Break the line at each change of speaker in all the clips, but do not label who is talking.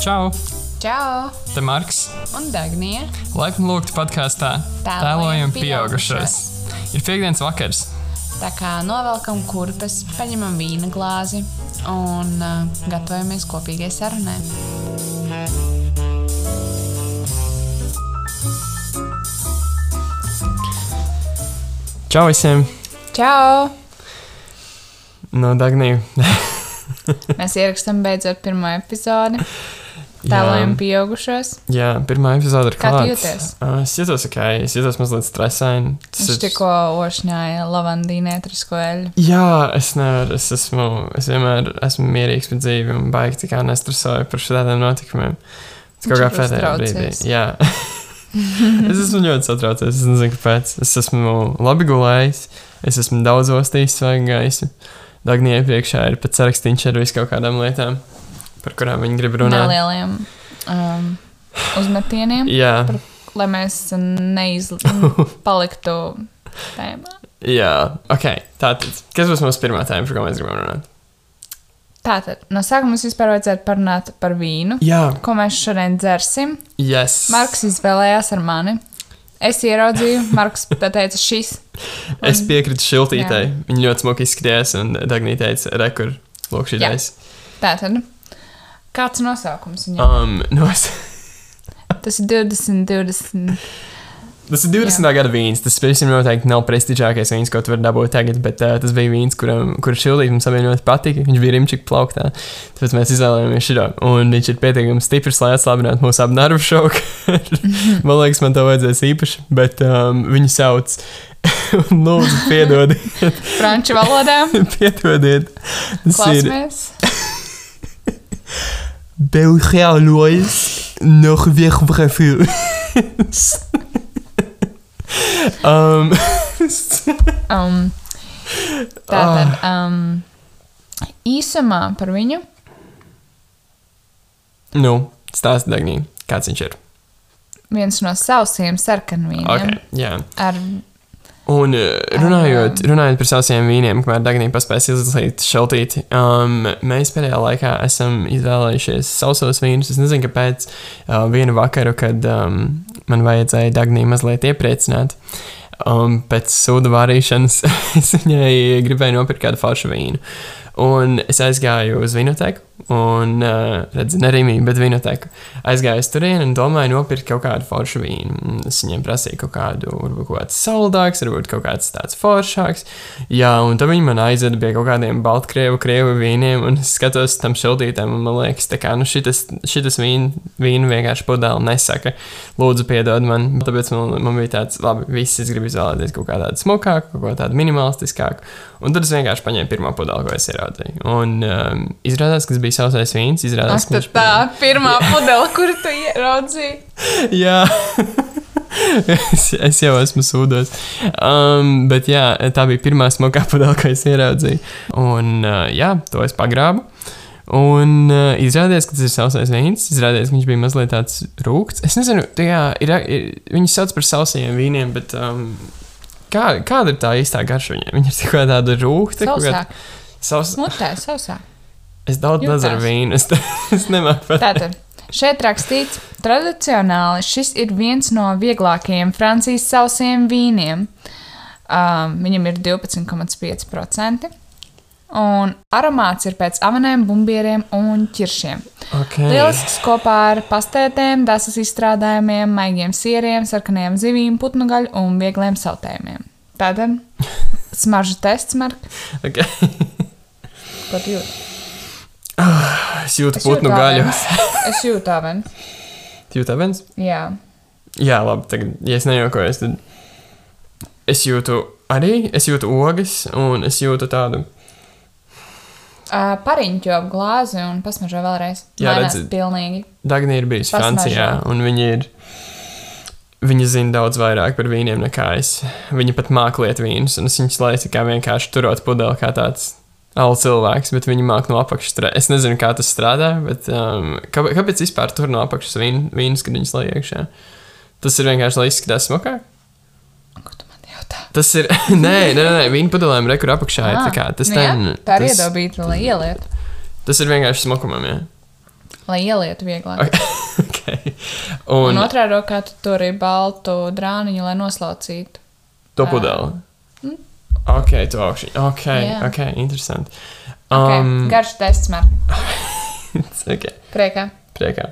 Čau!
Čau!
Te Marks!
Un Dāngnija!
Laikam lūgtu podkāstā
Tēlojam
Tēlojam pieaugušais. Ir piekdienas vakars.
Tā kā novelkam kurpes, paņemam vīna glāzi un uh, gatavojamies kopīgai sarunai.
Čau visiem!
Čau!
No Dagnija.
Mēs ierakstām beidzot pirmo epizodi. Tēlojam pieaugušos.
Jā, pirmā epizode ir
Kā tu
klāta.
jūties?
Es jūtos ok, es jūtos mazliet stresaini. Tas
Viņš tikko ošņāja lavandīnu etrisko eļu.
Jā, es nevaru. Es, esmu, es vienmēr esmu mierīgs par dzīvi un baigi tā kā nestresoju par šādiem notikumiem. Tas
Viņš
kaut kā
ir
pēdējā brīdī.
uztraucies.
Jā. es esmu ļoti satraucies. Es nezinu, kāpēc. Es esmu labi gulējis. Es esmu daudz ostījis svaigu gaisu. Dagnija priekšā ir pat sarakstīns ar visu kaut kādām lietām, par kurām viņi grib runāt.
Nelieliem um, uzmetieniem,
Jā,
Par- lai mēs neizpaliktu tēmā.
jā, ok. Tātad, kas būs mūsu pirmā tēma, par ko mēs gribam runāt?
Tātad, no sākuma mums vispār vajadzētu parunāt par vīnu.
Jā,
Ko mēs šodien dzersim?
yes.
Marks izvēlējās ar mani. Es ieraudzīju, Marks teica, šis.
Es piekrītu šiltītei. Viņa ļoti smuki izskatījās, un Dagnija teica, rekur, lūk, šī
Jā.
ideja.
Tātad, kāds ir nosaukums viņam?
Um, no, es- Ah.
Tas ir 20, 20.
tas ir 20. Jā. gada vīns. Tas, pavisam noteikti, nav prestižākais vīns, ko tu vari dabūt tagad, bet uh, tas bija vīns, kuram kur šildīt mums abiem ļoti patika. Viņš bija rimčīgi plauktā, tāpēc mēs izvēlējāmies šo. Un viņš ir pietiekami stiprs, lai atslābinātu mūsu abu nervu šoku. man liekas, man to vajadzēs īpaši, bet um, viņu sauc. Un lūdzu, piedodiet,
Franču valodā.
piedodiet. Tas ir
Klausamies.
Belgialois nog weer bravo. um,
Um, tātad,
Ah.
um, īsumā par viņu.
nu, stāsta Dagnī, kāds viņš ir.
Viens no sausiem sarkanvīniem.
Okay, jā.
Ar,
Un eh, runājot, runājot par saviem vīniem, kamēr Dagnija paspēs izlasīt šeltīti, um, mēs pēdējā laikā esam izvēlējušies sausos vīnus. Es nezinu, kāpēc uh, vienu vakaru, kad um, man vajadzēja Dagniju mazliet iepriecināt, um, pēc sūdu vārīšanas es viņai gribēju nopirkt kādu foršu vīnu. Un es aizgāju uz vinoteku, un, uh, redziet, nerīmīgi, bet vinoteku. Aizgāju uz turieni un domāju, nopirkt kaut kādu foršu vīnu. Un Es viņiem prasīju kaut kādu, varbūt kaut kāds saldāks, varbūt kaut kāds tāds foršāks. Jā, un tad viņi man aizveda pie kaut kādiem baltkrievu, krievu vīniem, un es skatos tam šildītēm, un man liekas, tā kā, nu, šitas, šitas vīn, vīnu vienkārši pudeli nesaka. Lūdzu, piedod man, tāpēc man, man bija tāds, labi, viss es gribu izvēlēties kaut kā tādu smukāku, kaut kā tādu minimalistiskāku. Un tad es vienkārši paņēmu pirmo pudeli, ko es ieraudzīju. Un um, izrādās, ka tas bija sausais vīns. Izrādās,
ak,
ka
tad
viņš
tā
bija-
pirmā pudele, kuru tu ieraudzīji.
Jā, es, es jau esmu sūdos. Um, bet jā, tā bija pirmā smagā pudele, ko es ieraudzīju. Un uh, jā, to es pagrābu. Un uh, izrādījās, ka tas ir sausais vīns. Izrādījās, ka viņš bija mazliet tāds rūkts. Es nezinu, tajā ir, ir viņu sauc par sausajiem vīniem, bet um, kā, kāda ir tā īstā garša viņiem? Viņi ir tikko tāda rūkta, kaut kāda
Sausāk,
sausa.
smutē, sausāk.
Es daudz
Jūtās.
nedaru vīnu. Es, es nemāku pat.
Tātad, šeit rakstīts, tradicionāli šis ir viens no vieglākajiem Francijas sausiem vīniem. Um, viņam ir 12,5%. Un aromāts ir pēc avanēm, bumbieriem un ķiršiem.
Okay.
Lielisks kopā ar pastētēm, dasas izstrādājumiem, maigiem sieriem, sarkaniem zivīm, putnu gaļu un viegliem sautējumiem. Tātad, smaržu tests, Mark,
Okay.
ko tu jūti?
Es jūtu
Es jūtu
putnu gaļu.
avens. Es jūtu avens.
Jūtu avens?
Jā.
Jā, labi. Tagad, ja es nejokojos, tad es jūtu arī, es jūtu ogas, un es jūtu tādu.
Uh, Pariņķi ap glāzi un pasmažo vēlreiz.
Jā,
Mainās
redzi.
Pilnīgi.
Dagnija ir bijusi
Pasmaržo.
Francijā, un viņa ir. Viņa zina daudz vairāk par vīniem nekā es. Viņa pat māca lietot vīnus, un es viņas laicu kā vienkārši turot pudeli kā tāds alu cilvēks, bet viņa māca no apakšas. stra- Es nezinu, kā tas strādā, bet um, kā, kāpēc vispār tur no apakšas vīn, vīnus, kad viņas laic iekšā? Tas ir vienkārši, lai izskatās smukāk.
Ko tu man jautā? pamatā.
Tas ir. Nē, nē, nē, nē viņa padomājam, rekur apakšā ir. Tā, kā, tas,
nu,
ten,
jā, tā ir
tas,
iedobīta, lai ielietu.
tas ir vienkārši smokumam, jā.
Lai ielietu vieglāk.
Ok. okay. Un,
Un
un
otrā rokā tu tur ir baltu drāniņu, lai noslaucītu.
to pudeli. Ok, to augšā. Ok,
Mm. Jā.
ok, interesanti.
Okay.
Um,
Um, Garš tests man.
okay.
Priekā.
Priekā.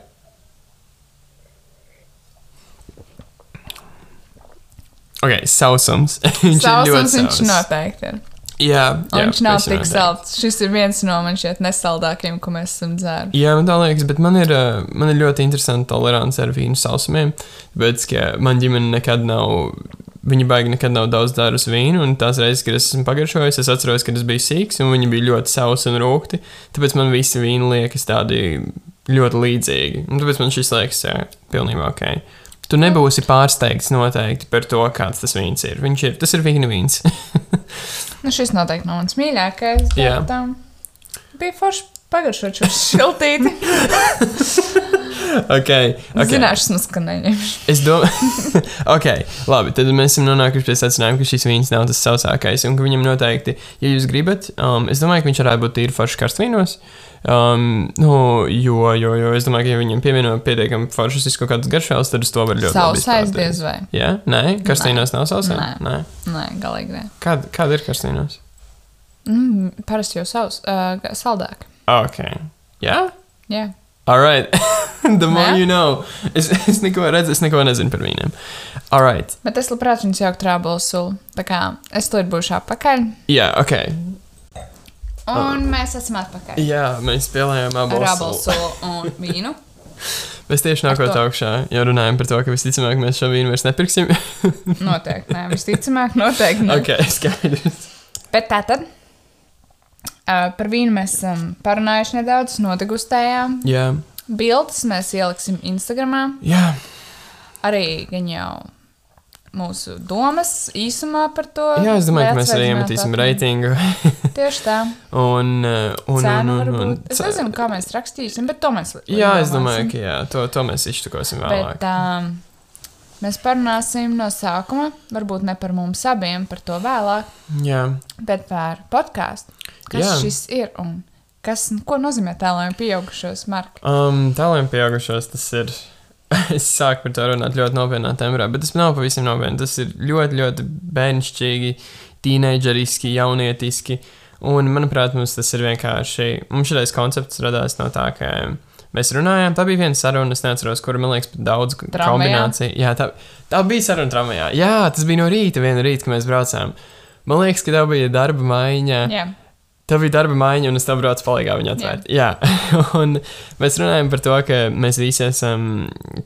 Ok, sausums. viņš ir
Sausums
ļoti
viņš
sauss.
noteikti ir.
Jā,
Un
jā,
viņš nav
ir
tik
noteikti.
salds. Šis ir viens no man šķiet nesaldākajiem, ko mēs esam dzēruši.
Jā, man tā liekas, bet man ir, ā, man ir ļoti interesanta tolerance ar vīnu sausumiem. Tāpēc, ka man ģimene nekad nav, viņa baigi nekad nav daudz dārus vīnu, un tās reizes, kad es esmu pagaršojis, es atceros, ka tas bija sīks, un viņi bija ļoti sausi un rūkti. Tāpēc man visi vīni liekas tādi ļoti līdzīgi. Un tāpēc man šis liekas jā, pilnībā ok. Tu nebūsi pārsteigts noteikti par to, kāds tas vīns ir. Viņš ir, tas ir vīna vīns.
Nu, šis noteikti nav mans mīļākais. bet,
Jā.
um, Bija forši pagaršot šo siltīti.
okay,
Okay.
okay.
Zināšanas, nu, ka neņemšu.
Es domāju, ok, labi. Tad mēs esam nonākuši pie secinājuma, ka šis vīns nav tas sausākais. Un ka viņam noteikti, ja jūs gribat, um, es domāju, ka viņš varētu būt tīri foršs karstvīnos. Um, nu, jo, jo, jo es domāju, ka ja viņam pievieno pietiekami foršas, kaut kādas garšās, tad uz to var ļoti labi
Sausais
izpildīt.
diez vai.
Jā, nē, karstvīnos nav sausais. Nē.
Nē. Nē, galīgi nē.
Kāda, kāda ir karstvīnos?
Mm, parasti jau savs, uh, ga- saldāk.
Ok. Jā?
Jā.
All right. The more
Nē?
you know. Es, es neko redzu, es neko nezinu par vīniem. All right.
Bet es labprāt viņus jauktu rābolu sulu. Tā kā es tur būšu apakaļ.
Jā, ok.
Un
Oh.
mēs esam atpakaļ.
Jā, mēs spēlējām
Ar
abos.
rābolu sulu un vīnu.
Mēs tieši nākot
to.
augšā jau runājam par to, ka visticamāk mēs šo vīnu vairs nepirksim.
Noteikti. Nē, visticamāk, noteikti. Nē.
ok, skaidrs.
Bet tā tad. Uh, par vīnu mēs esam parunājuši nedaudz, nodegustējām.
Jā,
Bildes mēs ieliksim Instagram.
jā,
Arī gan jau mūsu domas īsumā par to.
jā es domāju,
lai
ka mēs arī
atsveicinātu
iemetīsim
atmiņu.
reitingu.
Tieši tā.
Un, uh, un, un,
Cēnu
un, un,
varbūt. Es
ce-
nezinu, kā mēs rakstīsim, bet to mēs.
Jā, es domāju, ka jā, to, to mēs izšķirkosim vēlāk.
Bet, um, mēs parunāsim no sākuma, varbūt ne par mums abiem, par to vēlāk,
Jā,
bet par podkāstu. Kas
Jā.
jā. šis ir un kas, ko nozīmē tēlēm pieaugušos, Mark?
um, tāliem pieaugušos tas ir. Es sāku par to runāt ļoti nopietnā tembrā, bet tas nav pavisam nopietni. Tas ir ļoti, ļoti bērnišķīgi, tīneidžeriski, jaunietiski. Un, manuprāt, mums tas ir vienkārši. Mums šis koncepts radās no tā, ka mēs runājām. Tā bija viena saruna, es neatceros, kur man liekas, pat daudz
Tramvajā?
kombināciju. Jā, tā, tā bija saruna tramvajā. Jā, tas bija no rīta, viena rīta, kad mēs braucām. Man liekas, ka tā bija darba maiņa.
Jā,
Tev bija darba maiņa, un es tev braucu palīgā viņa atvērt. Jā, un mēs runājam par to, ka mēs visi esam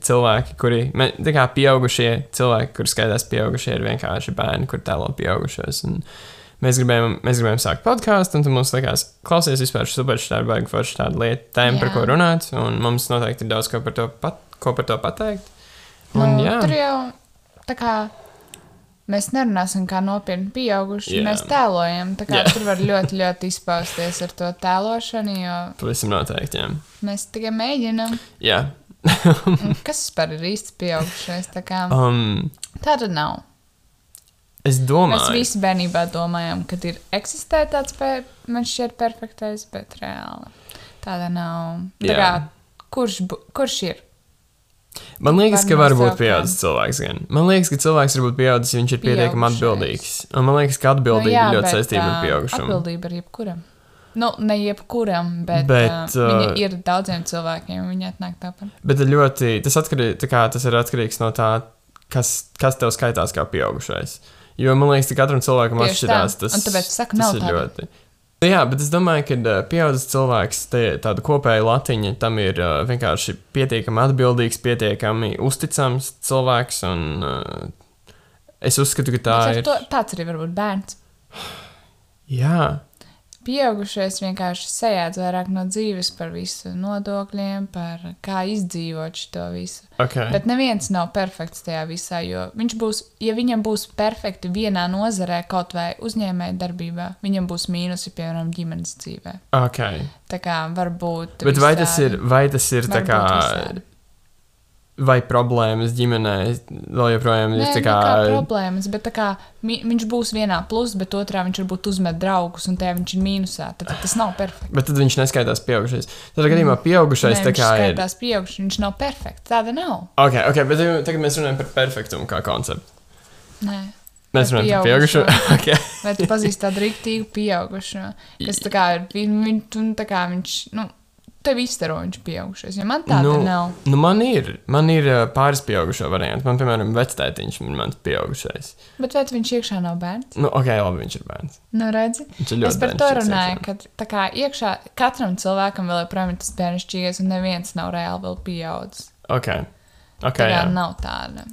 cilvēki, kuri, mē- tā kā pieaugušie cilvēki, kur skaitās pieaugušie, ir vienkārši bērni, kur tēlo pieaugušos. Un mēs gribējām, mēs gribējām sākt podkāstu, un tad mums likās, klausies vispār šī superstarp, vai forši tāda lieta, tēma, par
Jā.
ko runāt, un mums noteikti ir daudz ko par to, pat, ko par to pateikt.
nu,
Un, jā.
tur jau tā kā. Mēs nerunāsim kā nopietni pieauguši,
Jā.
yeah. mēs tēlojam. Tā kā
Jā.
yeah. tur var ļoti, ļoti izpausties ar to tēlošanu, jo
Pavisam noteikti, jā.
mēs tikai mēģinām.
jā.
Un Kas vispār ir īsti pieaugušais? Tā, kā,
Um,
tā tad nav.
es
Ah. Mēs
domāju,
visi bērnībā domājām, ka ir eksistē tāds pe- man šķiet perfektais, bet reāli tāda nav. Tā
Jā.
kā, kurš, bu- kurš ir?
Man liekas, ka
Var
var būt
nosaukt, jā.
pieaudzis cilvēks. Gan. Man liekas, ka cilvēks var būt pieaudzis, ja viņš ir pietiekami
Pieaugušais.
atbildīgs. Un man liekas, ka atbildība
Nu jā,
ir ļoti
bet,
saistīta ar
ā,
pieaugušumu.
Atbildība ir jebkuram. Nu, ne jebkuram, bet,
Bet,
bet uh, viņa
ā,
ir daudziem cilvēkiem. Viņa atnāk tāpat.
Bet ir ļoti, tas, atkarī, tā kā, tas ir atkarīgs no tā, kas, kas tev skaitās kā pieaugušais. Jo man liekas, ka katram cilvēkam
Tieši tā.
atšķirās tas.
Un tāpēc es saku,
tas
nav
ir
tāda.
ļoti. Nu Jā, bet es domāju, ka ā, pieaugušas cilvēks, te, tāda kopēja latiņa, tam ir ā, vienkārši pietiekami atbildīgs, pietiekami uzticams cilvēks. Un, ā, es uzskatu, ka tā
Līdz ar
ir.
To, tāds arī var būt bērns.
Jā.
Pieaugušais vienkārši sajādz vairāk no dzīves par visu nodokļiem, par kā izdzīvot šo visu.
Okay.
Bet neviens nav perfekts tajā visā, jo viņš būs, ja viņam būs perfekti vienā nozarē, kaut vai uzņēmēja darbībā, viņam būs mīnusi, piemēram, ģimenes dzīvē.
Okay.
Tā kā varbūt.
Bet vai tas ir, vai tas ir tā kā
Varbūt visādi.
vai problēmas ģimenē vēl joprojām ir
Nē,
tā
kā... kā
kā.
problēmas, bet tā kā, mi, viņš būs vienā plusā, bet otrā viņš varbūt uzmet draugus, un tajā viņš ir mīnusā. Tad, tad tas nav perfekts.
Bet tad viņš neskaitās pieaugušais. Tad, gadījumā, pieaugušais
Mm.
tā
Nē, viņš
kā ir.
skaitās pieaugšs, viņš nav perfekts. Tāda nav.
Ok, ok, bet tagad- tagad mēs runājam par perfektumu kā konceptu.
Nē.
Mēs
Par
runājam par pieaugušo. Okay.
Vai tu pazīsti tādu rīktīvu pieaugušo? Kas tā kā ir, vi- vi- tu tā kā viņš, nu, tev izstaro viņš pieaugušais, jo man tāda
nu,
nu. nav.
Nu man ir, man ir ā, pāris pieaugušo varianti. Man, piemēram, vectētiņš ir mans pieaugušais.
Bet vai tu viņš iekšā nav bērns?
Nu, ok, labi, viņš ir bērns.
Nu, redzi?
Viņš ir ļoti
es par
bērns,
to
šis
runāju,
iekšā.
ka tā kā iekšā katram cilvēkam vēl joprojām ir tas bērnišķīgais, un neviens nav reāli vēl pieaudzis.
Ok, ok.
Tā kā
jā.
nav tāda.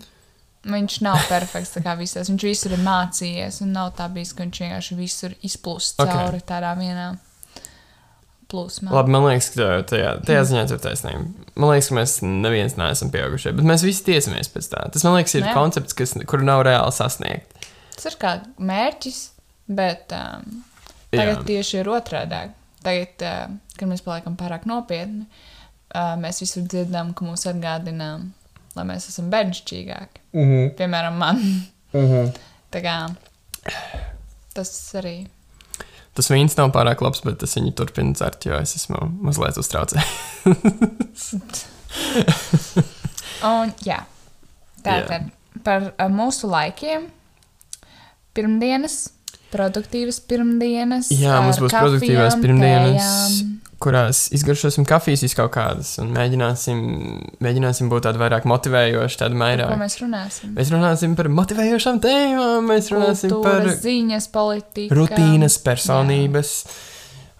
Viņš nav perfekts tā kā visās. Viņš visur ir mācījies, un nav tā bijis, ka viņš vienkārši visur izplūst
Ok.
cauri tādā vienā plūsmā.
Labi, man liekas, ka tev tajā,
Mm.
tajā ziņā tev taisnība. Man liekas, ka mēs neviens neesam pieaugušie, bet mēs visi tiecamies pēc tā. Tas, man liekas, ir
Nē.
Nē. koncepts, kas, kuru nav reāli sasniegt.
Tas ir kā mērķis, bet um, tagad
Jā.
tieši ir otrādi. Tagad, uh, kad mēs paliekam pārāk nopietni, uh, mēs visur dzirdam, ka mūs atgādina, lai mēs esam bērnišķīgāki.
Uh -huh.
Piemēram, man.
Uh -huh.
Tā kā, tas arī.
Tas vīns nav pārāk labs, bet es viņu turpinu dzert, jo es esmu mazliet uztraucējis.
Un, jā,
Jā.
tātad par uh, mūsu laikiem. Pirmdienas, produktīvas pirmdienas.
Jā,
ar
mums būs
kafijām,
produktīvās pirmdienas,
tējām.
kurās izgaršosim kafijas vis kaut kādas un mēģināsim, mēģināsim būt tādi vairāk motivējoši, tādi
Par ko
mairāk.
mēs runāsim?
Mēs runāsim par motivējošām tēmām, mēs runāsim
Kultūras,
par
ziņas, politika.
rutīnas, personības.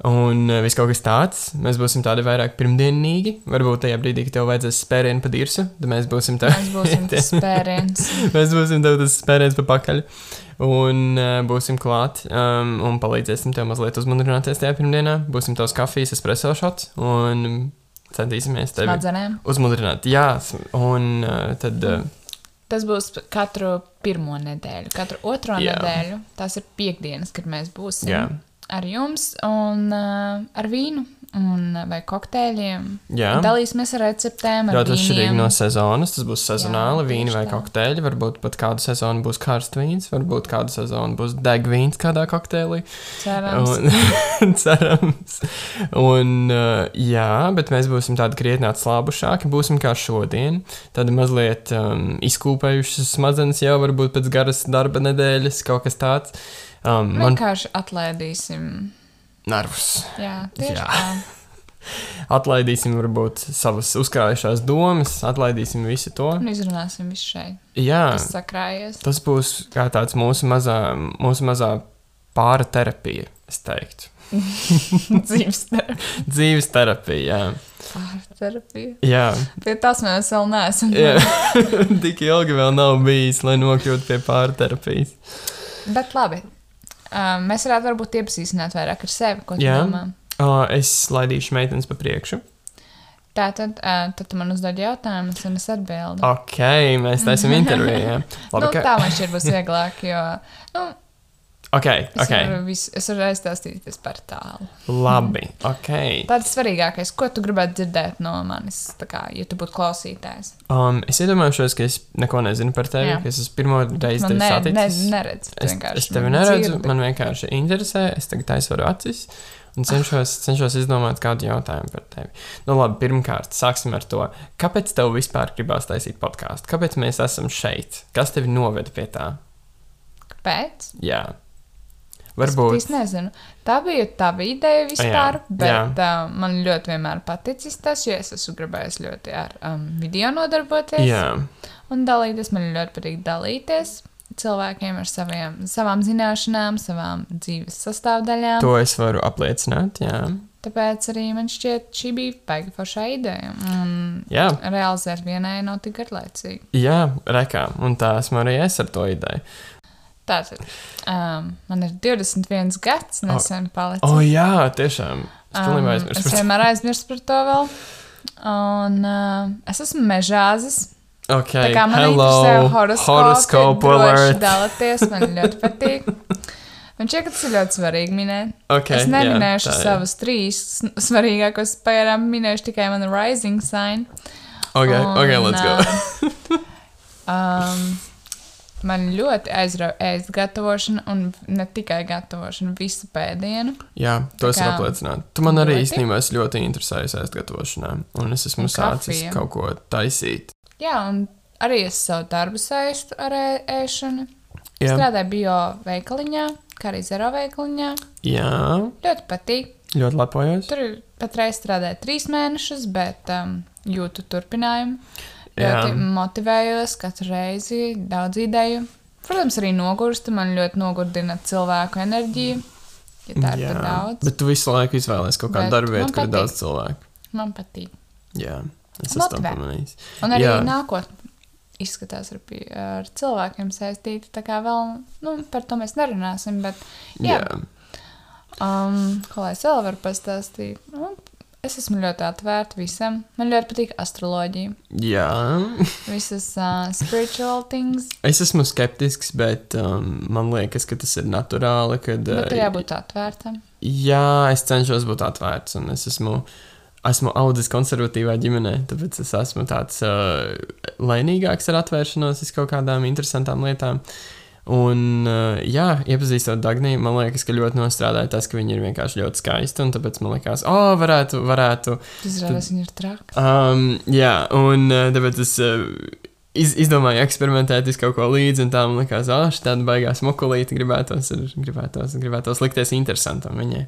Un uh, viss kaut kas tāds. Mēs būsim tādi vairāk pirmdienīgi. Varbūt tajā brīdī, kad tev vajadzēs spērienu pa dirsu, tad mēs būsim tādi.
Mēs būsim tas spēriens.
mēs būsim tev tas spēriens pa pakaļ. Un uh, būsim klāt. Um, un palīdzēsim tev mazliet uzmundrināties tajā pirmdienā. Būsim tavs kafijas espreso šots. Un centīsimies tevi
Smadzenēm.
uzmundrināt. Jā, sm- un uh, tad. Uh,
Tas būs katru pirmo nedēļu, katru otro
Jā.
jā. nedēļu. Tās ir piekdienas, kad mēs būsim
Jā.
ar jums un uh, ar vīnu un, uh, vai kokteiļiem.
jā.
Dalīsimies ar receptēm, ar
Ļoti atšķirīgi
vīniem.
no sezonas. Tas būs sezonāli,
Jā,
vīni
tieši
vai
tā.
kokteļi. Varbūt pat kādu sezonu būs karsts vīns, varbūt kādu sezonu būs degvīns kādā kokteilī.
Cerams, un...
Un, cerams. Un, uh, jā, bet mēs būsim tādi krietni atslābušāki. Būsim kā šodien. Tādi mazliet um, izkūpējušas smadzenes jau varbūt pēc garas darba nedēļas, kaut kas tāds. Um, man
vienkārši atlaidīsim.
nervus.
Jā, tieši
Jā.
jā. tā.
Atlaidīsim varbūt savas uzkrājušās domas, atlaidīsim visu to.
Un izrunāsim visu šeit.
Jā.
Nu, Tas sakrājies.
Tas būs kā tāds mūsu mazā, mūsu mazā pāra terapija, es teiktu.
Dzīves
Dzīves terapija,
terapija.
jā.
Pie tās mēs vēl neesam.
jā. jā. Tik ilgi vēl nav bijis, lai nokļūtu pie pāra terapijas.
Bet labi. Um, mēs varētu varbūt iepazīstināt vairāk ar sevi, ko tu
Jā.
domā.
Uh, es laidīšu meitenes pa priekšu.
Tā tad, uh, tad tu man uzdod jautājumus, un es atbildu.
Ok, mēs taisam interviju. Jā. Ah, Labi,
nu, tā man šķiet būs vieglāk, jo nu,
Ok,
es,
ok.
okay. varu visu, es varu aizstāstīties par tālu.
Labi, ok.
Tāds svarīgākais, ko tu gribētu dzirdēt no manis, tā kā, ja tu būtu klausītājs.
Um, es iedomājos, ka es neko nezinu par tevi,
Jā. Nu,
ka es esmu pirmo reizi
Man
tevi
ne, ne,
saticis.
neredz,
Es,
vienkārši.
es tevi
man
neredzu,
dzirdi.
man vienkārši interesē. Es tagad aizveru acis un cenšos, cenšos izdomāt kādu jautājumu par tevi. Nu, labi, pirmkārt, sāksim ar to, kāpēc tev vispār gribās taisīt podkāstu? Kāpēc mēs esam šeit? Kas tevi noveda pie tā?
Kāpēc?
Jā,
Es
varbūt.
pat īsti nezinu. Tā bija tā ideja
Jā,
vispār, jā, bet jā. Uh, man ļoti vienmēr paticis tas, jo es esmu gribējis ļoti ar um, video nodarboties
Jā,
un dalīties. Man ļoti patīk dalīties cilvēkiem ar saviem, savām zināšanām, savām dzīves sastāvdaļām. To.
to es varu apliecināt. Jā,
Tāpēc arī man šķiet, šī bija baigi forša ideja. Un
jā,
realizēt vienai nav tik garlaicīgi.
jā rekā. Un tā esmu arī es ar to ideju.
Tātad, um, man ir 21 gads, nesen palicis.
O, oh, jā, tiešām. Es
Um,
pilnībā
es
aizmirsu.
vienmēr aizmirstu par to vēl. Un uh, es esmu mežāzis.
Ok,
Tā kā man
hello,
interesē horoskopi,
horoscope
droši
alert.
dalāties, man ļoti patīk. Man šķiet, ka tas ir ļoti svarīgi minēt.
Okay,
es neminēšu
jā, tā ir.
savus trīs s- svarīgākos, pagaidām minēšu tikai manu rising sign.
Ok, ok, let's
uh,
go.
um, man ļoti aizrauja ēst gatavošana, un ne tikai gatavošana, visu pēdienu.
Jā, to es varu
kā-
apliecināt. Tu man arī
Ļoti?
īstenībā esi ļoti interesējies aizgatavošanā, un es esmu
Un
sācis
kafija.
kaut ko taisīt.
Jā, un arī es savu darbu saistu ar ē- ēšanu.
Jā,
Strādāju bio veikaliņā, kā arī zero veikaliņā.
jā
Ļoti patīk.
ļoti lepojos.
Tur patreiz strādāju trīs mēnešus, bet um, jūtu turpinājumu.
Jā.
Ļoti motivējos katru reizi, daudz ideju. Protams, arī nogurstu. Man ļoti nogurdina cilvēku enerģija. Ja tā ir par daudz,
bet tu visu laiku izvēlējies kaut kādu
Bet
darbu
man
vietu, kur ir
patīk.
daudz cilvēku.
man patīk.
Jā, es esmu tam
Motivē.
pamanījis.
Un arī
Jā.
nākotnē izskatās ar, pi- ar cilvēkiem saistīta. Tā kā vēl nu, par to mēs nerunāsim. Bet,
Jā,
jā, jā. Um, ko lai es vēl varu pastāstīt? Nu, es esmu ļoti atvērta visam. Man ļoti patīk astroloģija.
jā.
Visas uh, spiritual things.
Es esmu skeptisks, bet um, man liekas, ka tas ir naturāli. Kad,
Bet Nu, tur
eh,
jābūt atvērtam.
Jā, es cenšos būt atvērts, un es esmu, esmu audzis konservatīvā ģimenē, tāpēc es esmu tāds uh, laimīgāks ar atvēršanos uz kaut kādām interesantām lietām. Un, uh, jā, iepazīstot Dagniju, man liekas, ka ļoti nostrādāja tas, ka viņa ir vienkārši ļoti skaista, un tāpēc man liekas, o, oh, varētu, varētu.
Izrādās, viņa ir traka.
Um, jā, un uh, tāpēc es uh, iz, izdomāju eksperimentēt, es kaut ko līdzi, un tā man liekas, ah, šī tāda baigās mokulīte, gribētos, ar- gribētos, gribētos likties interesantam viņai.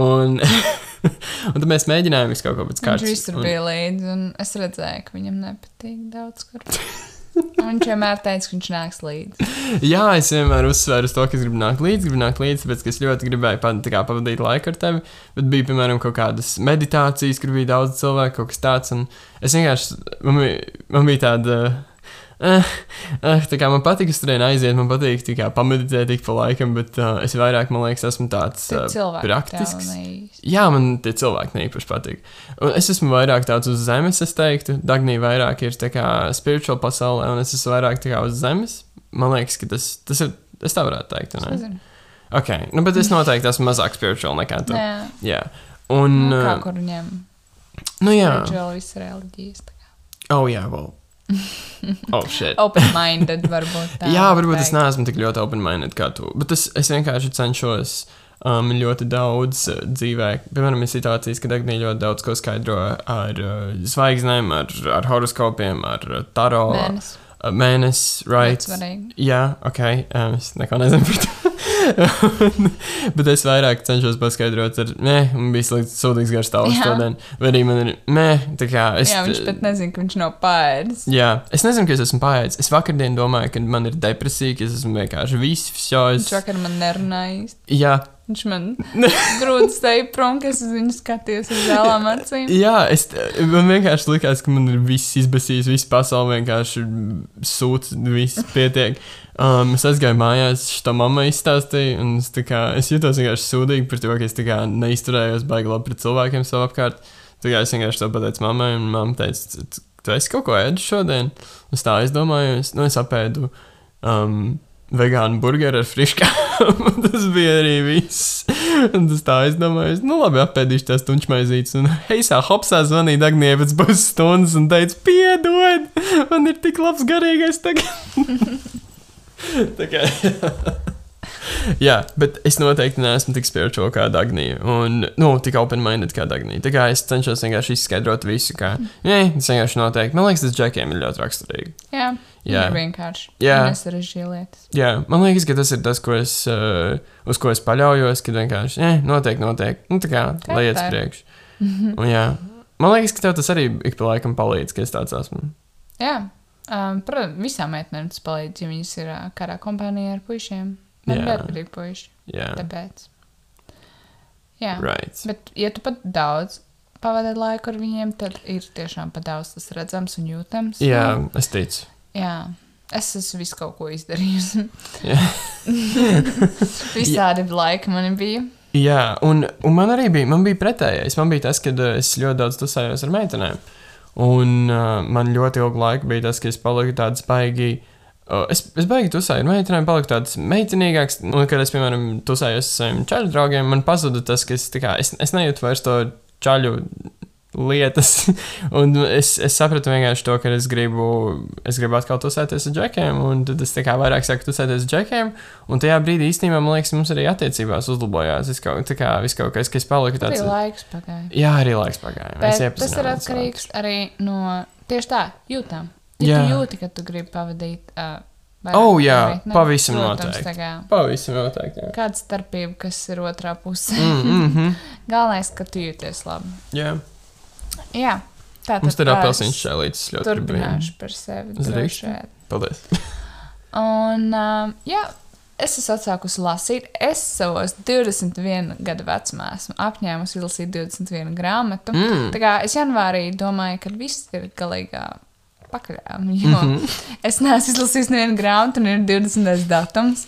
Un, un tad mēs mēģinājām visu kaut ko pēc
Viņš
kārtas.
visur
un-
bija līdzi, un es redzēju, ka viņam nepatīk daudz kur. Un viņš vienmēr teica, ka viņš nāks līdzi.
Jā, es vienmēr uzsvēru uz to, ka es gribu nākt līdzi, gribu nākt līdzi, tāpēc ka es ļoti gribēju pad, tā kā, pavadīt laiku ar tevi. Bet bija, piemēram, kaut kādas meditācijas, kur bija daudz cilvēku, kaut kas tāds. Un es vienkārši, man bija, man bija tāda. Eh, eh, tā kā man patīk, es turēju aiziet, man patīk tā kā pameditēt ik pa laikam, bet uh, es vairāk, man liekas, esmu tāds
Tie
eh,
cilvēki
praktisks.
tev neīsti.
Jā, man tie cilvēki neīpaši patīk. Un es esmu vairāk tāds uz zemes, es teiktu. Dagnija vairāk ir tā kā spirituāla pasaulē, un es esmu vairāk tā kā uz zemes. Man liekas, ka tas, tas ir. Es tā varētu teikt,
Es
ne?
nezinu.
Ok, nu, bet es noteikti esmu mazāk spirituāls nekā tu.
Nē,
Jā. Un.
nu, kā
uh,
kur viņam
Nu, jā.
spiritual visas reliģijas. tā kā.
Oh, jā, vēl. Oh, shit.
Open-minded varbūt tā.
Jā, varbūt es
teikt.
neesmu tik ļoti open-minded kā tu, bet es, es vienkārši cenšos um, ļoti daudz uh, dzīvē. Piemēram, ir situācijas, kad Agnija ļoti daudz ko skaidro ar uh, zvaigznēm, ar, ar horoskopiem, ar uh, taro,
Mēnesis.
uh, mēnesi, right?
nu, Ļoti svarīgi.
Jā, ok, um, es neko nezinu par to. Bet es vairāk cenšos paskaidrot, ar, nē, man bija slikts, sūdīgs garš stāvoklis
Jā.
šodien. Vai arī man ir, nē, tā kā es.
Jā, viņš pat nezina, ka viņš nav pāris.
Jā, es nezinu, kas esmu pārējis. Es vakardien domāju, ka man ir depresija, ka es esmu vienkārši viss, jau es.
Viņš vakar man nerunāja. īsti.
Jā,
Viņš man grūti steigā prom, ka es uz viņu skaties ar zālām acīm.
jā es, man vienkārši likās, ka man ir viss izbasījis, viss pasaule vienkārši sūta, viss pietiek. Um, es aizgāju mājās, to mammai izstāstīju, un es, tā kā, es jutos vienkārši sūdīgi par to, ka es tā kā neizturējos baigi labi pret cilvēkiem sev apkārt. Tā kā es vienkārši to pateicu mammai, un mamma teica, "Tu- tu- tu esi kaut ko ēdu šodien. Un es tā aizdomāju, es, nu, es apēdu. Um, Vegānu burgeru ar friškām. un tas bija arī viss. Un tas tā aizdomājās. Nu, labi, apēdīšu tās tunčmaizītes. Un heisā hopsā zvanīja Dagnija pēc pusstundas un teica, piedod, man ir tik labs garīgais tagad. Tā kā. Jā, bet es noteikti neesmu tik spirituāls kā Dagnija. Un, nu, tik open-minded kā Dagnija. Tā kā es cenšos vienkārši izskaidrot visu, kā. Nē, tas vienkārši noteikti. Man liekas, tas džekiem ir ļoti raksturīgi.
Jā,
Jā.
jā. vienkārši.
Jā.
Nesarežģīja lietas.
Jā, man liekas, ka tas ir tas, ko es, uh, uz ko es paļaujos, kad vienkārši, nē, notiek, notiek. Nu, tā kā,
Tā
lai
ir
iet uz
tā. Mhm.
priekšu. Un jā, man liekas, ka tev tas arī ik pa laikam palīdz, ka es tāds esmu.
Jā, um, protams, visām meitenēm tas palīdz, ja viņas ir ā, kādā kompānijā ar puišiem. Man
Jā.
ļoti patīk puiši.
Jā,
Tāpēc. Jā.
right.
Bet, ja tu pat daudz pavadi laiku ar viņiem, tad ir tiešām pat daudz tas redzams un jūtams. Nu,
Jā, es ticu.
Jā. Es esmu visu kaut ko izdarījusi.
Jā.
Visādi laiki man bija.
Jā, un, un man arī bija, man bija pretējais. Man bija tas, kad uh, es ļoti daudz tusējos ar meitenēm. Un uh, man ļoti ilgu laiku bija tas, ka es paliku tāds baigi. Uh, es, es baigi tusēju ar meitenēm, paliku tāds meitenīgāks. Un, kad es, piemēram, tusējos ar saviem čaļu draugiem, man pazuda tas, ka es, tā kā, es, es nejūtu vairs to čaļu lietas. Un es, es sapratu vienkārši to, ka es gribu, es gribu atkal tusēties ar džekiem, un tad es tā kā vairāk sāku tusēties ar džekiem. Un tajā brīdī īstenībā man liekas, mums arī attiecībās uzlabojās. Es kaut tā kā viss kaut kas, kas palika
Tas
tāds.
ir laiks pagājis.
Jā, arī laiks pagāja. Mēs
Bet tas ir
iepazināmies
atkarīgs arī no tieši tā, jūtām. Ja
Jā.
tu jūti, ka tu gribi pavadīt. Uh,
Oh, jā, pavisam noteikti.
noteikti.
Pavisam noteikti. jā.
Kāda starpība, kas ir otrā pusē?
Mm, mm -hmm.
Galvenais, ka tu jūties labi.
Jā,
Jā, tā
mums tur ir
tā
apelsīns
es
šķēlītis ļoti gribu viņu.
Turpināšu par sevi.
Uz rīkstu?
drošēt.
Paldies.
Un, uh, jā, es esmu atsākusi lasīt. Es savos 21 gadu vecumā esmu apņēmusi izlasīt 21 grāmatu.
Mm.
Tā kā es janvārī domāju, ka viss ir galīgā pakaļā. Jo mm
Mhm.
-hmm. es neesmu izlasījis nevienu grāmatu, un ir 20. datums.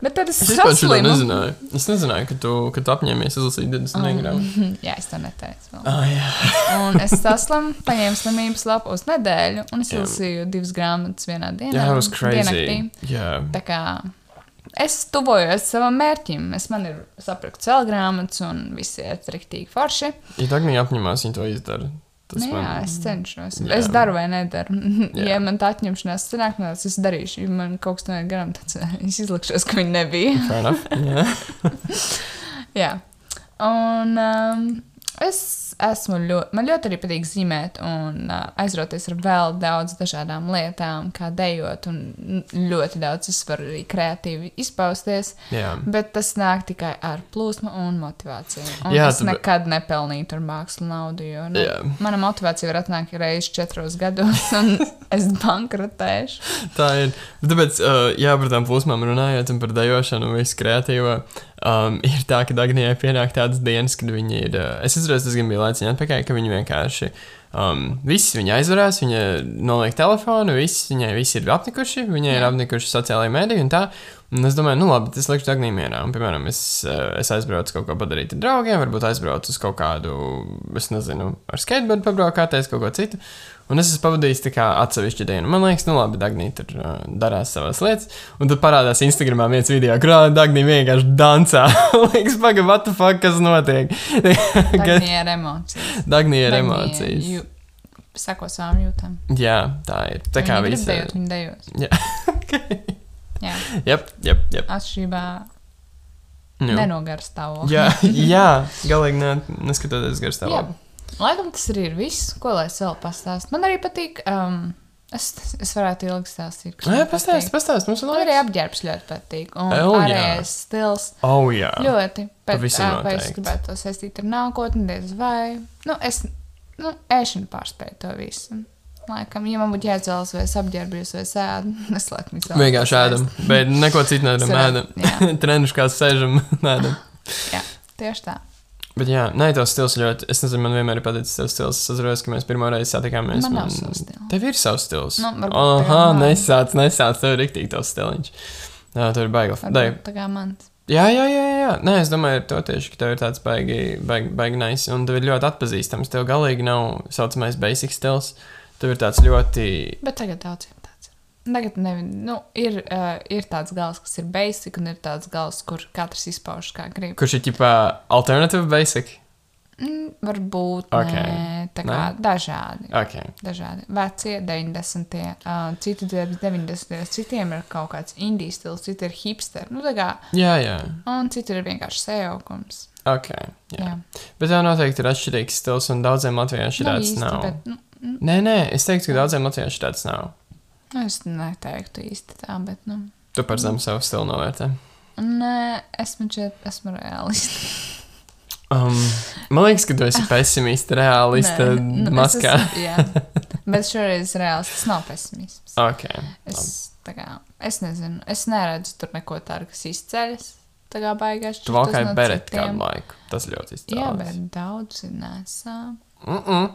Bet tad es,
Es vispār šo
saslimu.
nezināju. Es nezināju, ka tu, ka tu apņēmies izlasīt 20 grāmatas.
Jā, es to neteicu. Vēl.
Ah, jā.
Un es saslimu, paņēmu slimības lapu uz nedēļu, un es
Jā.
izlasīju divas grāmatas vienā dienā.
jā, tas bija
diennaktī.
crazy. Jā.
Tā kā es tuvojos savam mērķim. Es man ir sapratusi vēl grāmatas, un viss ir rīktīgi forši.
Ja Dagmija apņemās, viņa to izdara. Tas
Nu, jā, es cenšos.
Jā.
Jā. Es daru vai nedaru.
Jā.
ja man tā atņemšanās sanāk, no es darīšu. Ja man kaut kas noiet garām, tad eh, es izlikšos, ka viņa nebija.
Fair enough. Jā.
jā. Un um, es esmu ļoti, man ļoti arī patīk zīmēt un uh, aizroties ar vēl daudz dažādām lietām, kā dejot, un ļoti daudz es varu arī kreatīvi izpausties.
jā.
Bet tas nāk tikai ar plūsmu un motivāciju. Un
Jā,
jā, es
tu-
nekad nepelnīju ar mākslu naudu, jo nu,
Jā.
mana motivācija var atnākt reizes četros gados, un es bankrotēšu.
Tā ir. Bet Tāpēc, uh, jā, par tām plūsmām runājot un par dēlošanu un visu kreatīvo, um, ir tā, ka Dagmijai pienāk tādas dienas, kad viņi ir. Uh, es atceros, tas gan bija laicīgi atpakaļ, ka viņi vienkārši. Um, viss viņa aizvarās, viņa noliek telefonu, viss, viņai visi ir apnikuši, viņai ir
Jā.
apnikuši sociālajā mēdī un tā. Un es domāju, nu labi, tas liekas Dagmijai mierā. Un, piemēram, es, eh, es aizbraucu kaut ko padarīt ar draugiem, varbūt aizbraucu uz kaut kādu, es nezinu, ar skateboardu pabraukāties, kaut ko citu. Un es esmu pavadījis tā kā atsevišķu dienu. Man liekas, nu labi, Dagmija tur eh, darās savas lietas. Un tad parādās Instagramā viens video, kurā Dagmija vienkārši dancē. liekas, pagaidi, what the fuck, kas notiek?
Tā ir emocija.
Dagmija ir emocijas.
Sako savām jūtām.
Jā, tā ir. Tā kā
viņi
viss
grib
ir.
dejot, viņi dejot.
Jā.
Jā,
Jā, jā, jā.
atšķirībā
Nu.
nenogara stāvoklis.
Jā, jā, galīgi ne, neskatoties garš
Jā,
stāvokli.
laikam tas arī ir viss, ko lai es vēl pastāstu. Man arī patīk, um, es, es varētu ilgi stāstīt. kas
Nē,
man
pastāsti,
patīk.
pastāsti, mums ir
Man arī
labi.
apģērbs ļoti patīk. Un
L, jā.
ārējais stils
Oh, jā.
ļoti patīk.
Pavisam
Vai es
noteikti.
gribētu to saistīt ar nākotni, diez vai. Nu, es, nu, ēšana pārspēja to visu. Laikam, ja man būtu jāizvēlas, vai es apģērbjos, vai sēdu, es laikam izvēlos.
Vienkārši ēdam, bet neko citu nedaram.
Sarā-
Ēdam, treniņš kā sēžam, ēdam.
Jā, tieši tā.
Bet jā, nē, tavs stils ļoti. Es nezinu, man vienmēr ir paticis tavs stils. Es atceros, ka mēs pirmo reizi satikāmies.
Man nav sava stila.
Tev ir savs stils.
Nu, varbūt
Aha,
tagad man.
nesāc, nesāc, tev ir riktīgi tavs stiliņš. Jā, tev ir baigli.
Varbūt
Dai,
Tā kā man.
Jā, jā, jā, jā. Nē, es domāju, ar to tieši, ka tev ir tāds baigi, baigi, baigi nice, un tev ir ļoti atpazīstams. Tev galīgi nav tā saucamais basic stils. Tev ir tāds ļoti.
Bet tagad daudziem tāds ir. Tagad nevi, nu, ir, uh, ir tāds gals, kas ir basic, un ir tāds gals, kur katrs izpaužas kā grib.
Kurš ir tipā alternatīva basic?
Mm, varbūt
Ok.
okay. tā kā
Nē?
dažādi.
Ok.
Dažādi veci, 90. Uh, citi ir 90. citiem ir kaut kāds indijas stils, citi ir hipster. Nu, tā kā,
Jā, jā.
un citi ir vienkārši sejaukums.
Ok. Jā. jā.
Jā,
Bet tev noteikti ir atšķirīgs stils, un daudziem latviešu
Nu,
tāds
īsti,
nav.
Bet, nu,
Nē, nē, es teiktu, ka daudziem latviešu tāds nav.
nu, es neteiktu īsti tā, bet, nu,
Tu par zemu savu stilu novērtē.
nē, esmu šeit, esmu realists.
Um, man liekas, ka tu esi pesimists, realists, maskā.
nu, Jā, bet šoreiz realists nav pesimisms.
Ok.
Es, tā kā, es nezinu, es neredzu tur neko tādu, kas izceļas. Tā kā baigās.
Tu valkai beret kādu laiku. Tas ļoti izcēlās.
Jā, bet daudz nesām.
Mm -mm.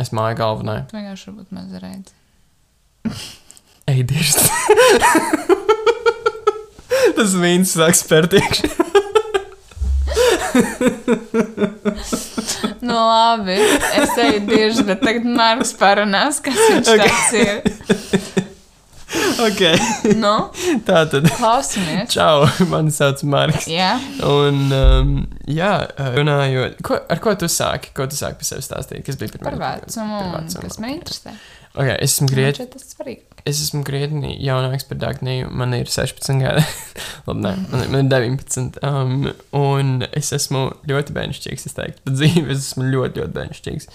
Es māju galvenai.
Tu vienkārši varbūt maz redzi.
Ej, dirst. Tas vīns sāk spērt iekšā.
Nu, labi, es eju dirži, bet tagad Marks parunās, kas viņš okay. tāds ir.
Ok.
Nu,
Tā tad.
klausamies.
Čau, mani sauc Marks.
Jā,
Un, um, jā, runājot, ko, ar ko tu sāki? Ko tu sāki par sevi stāstīt? Kas bija pirmā?
par vecumu.
Par
un
vecumu.
Kas man interesē?
Okay, es, esmu
Man
griet,
šķiet Tas ir svarīgi.
es esmu krietni jaunāks par Dāngniju. Man ir 16 gadi. Labi, nē, man, ir- man ir 19. Um, un es esmu ļoti bērnišķīgs. Es teiktu, pa dzīvi es esmu ļoti, ļoti bērnišķīgs.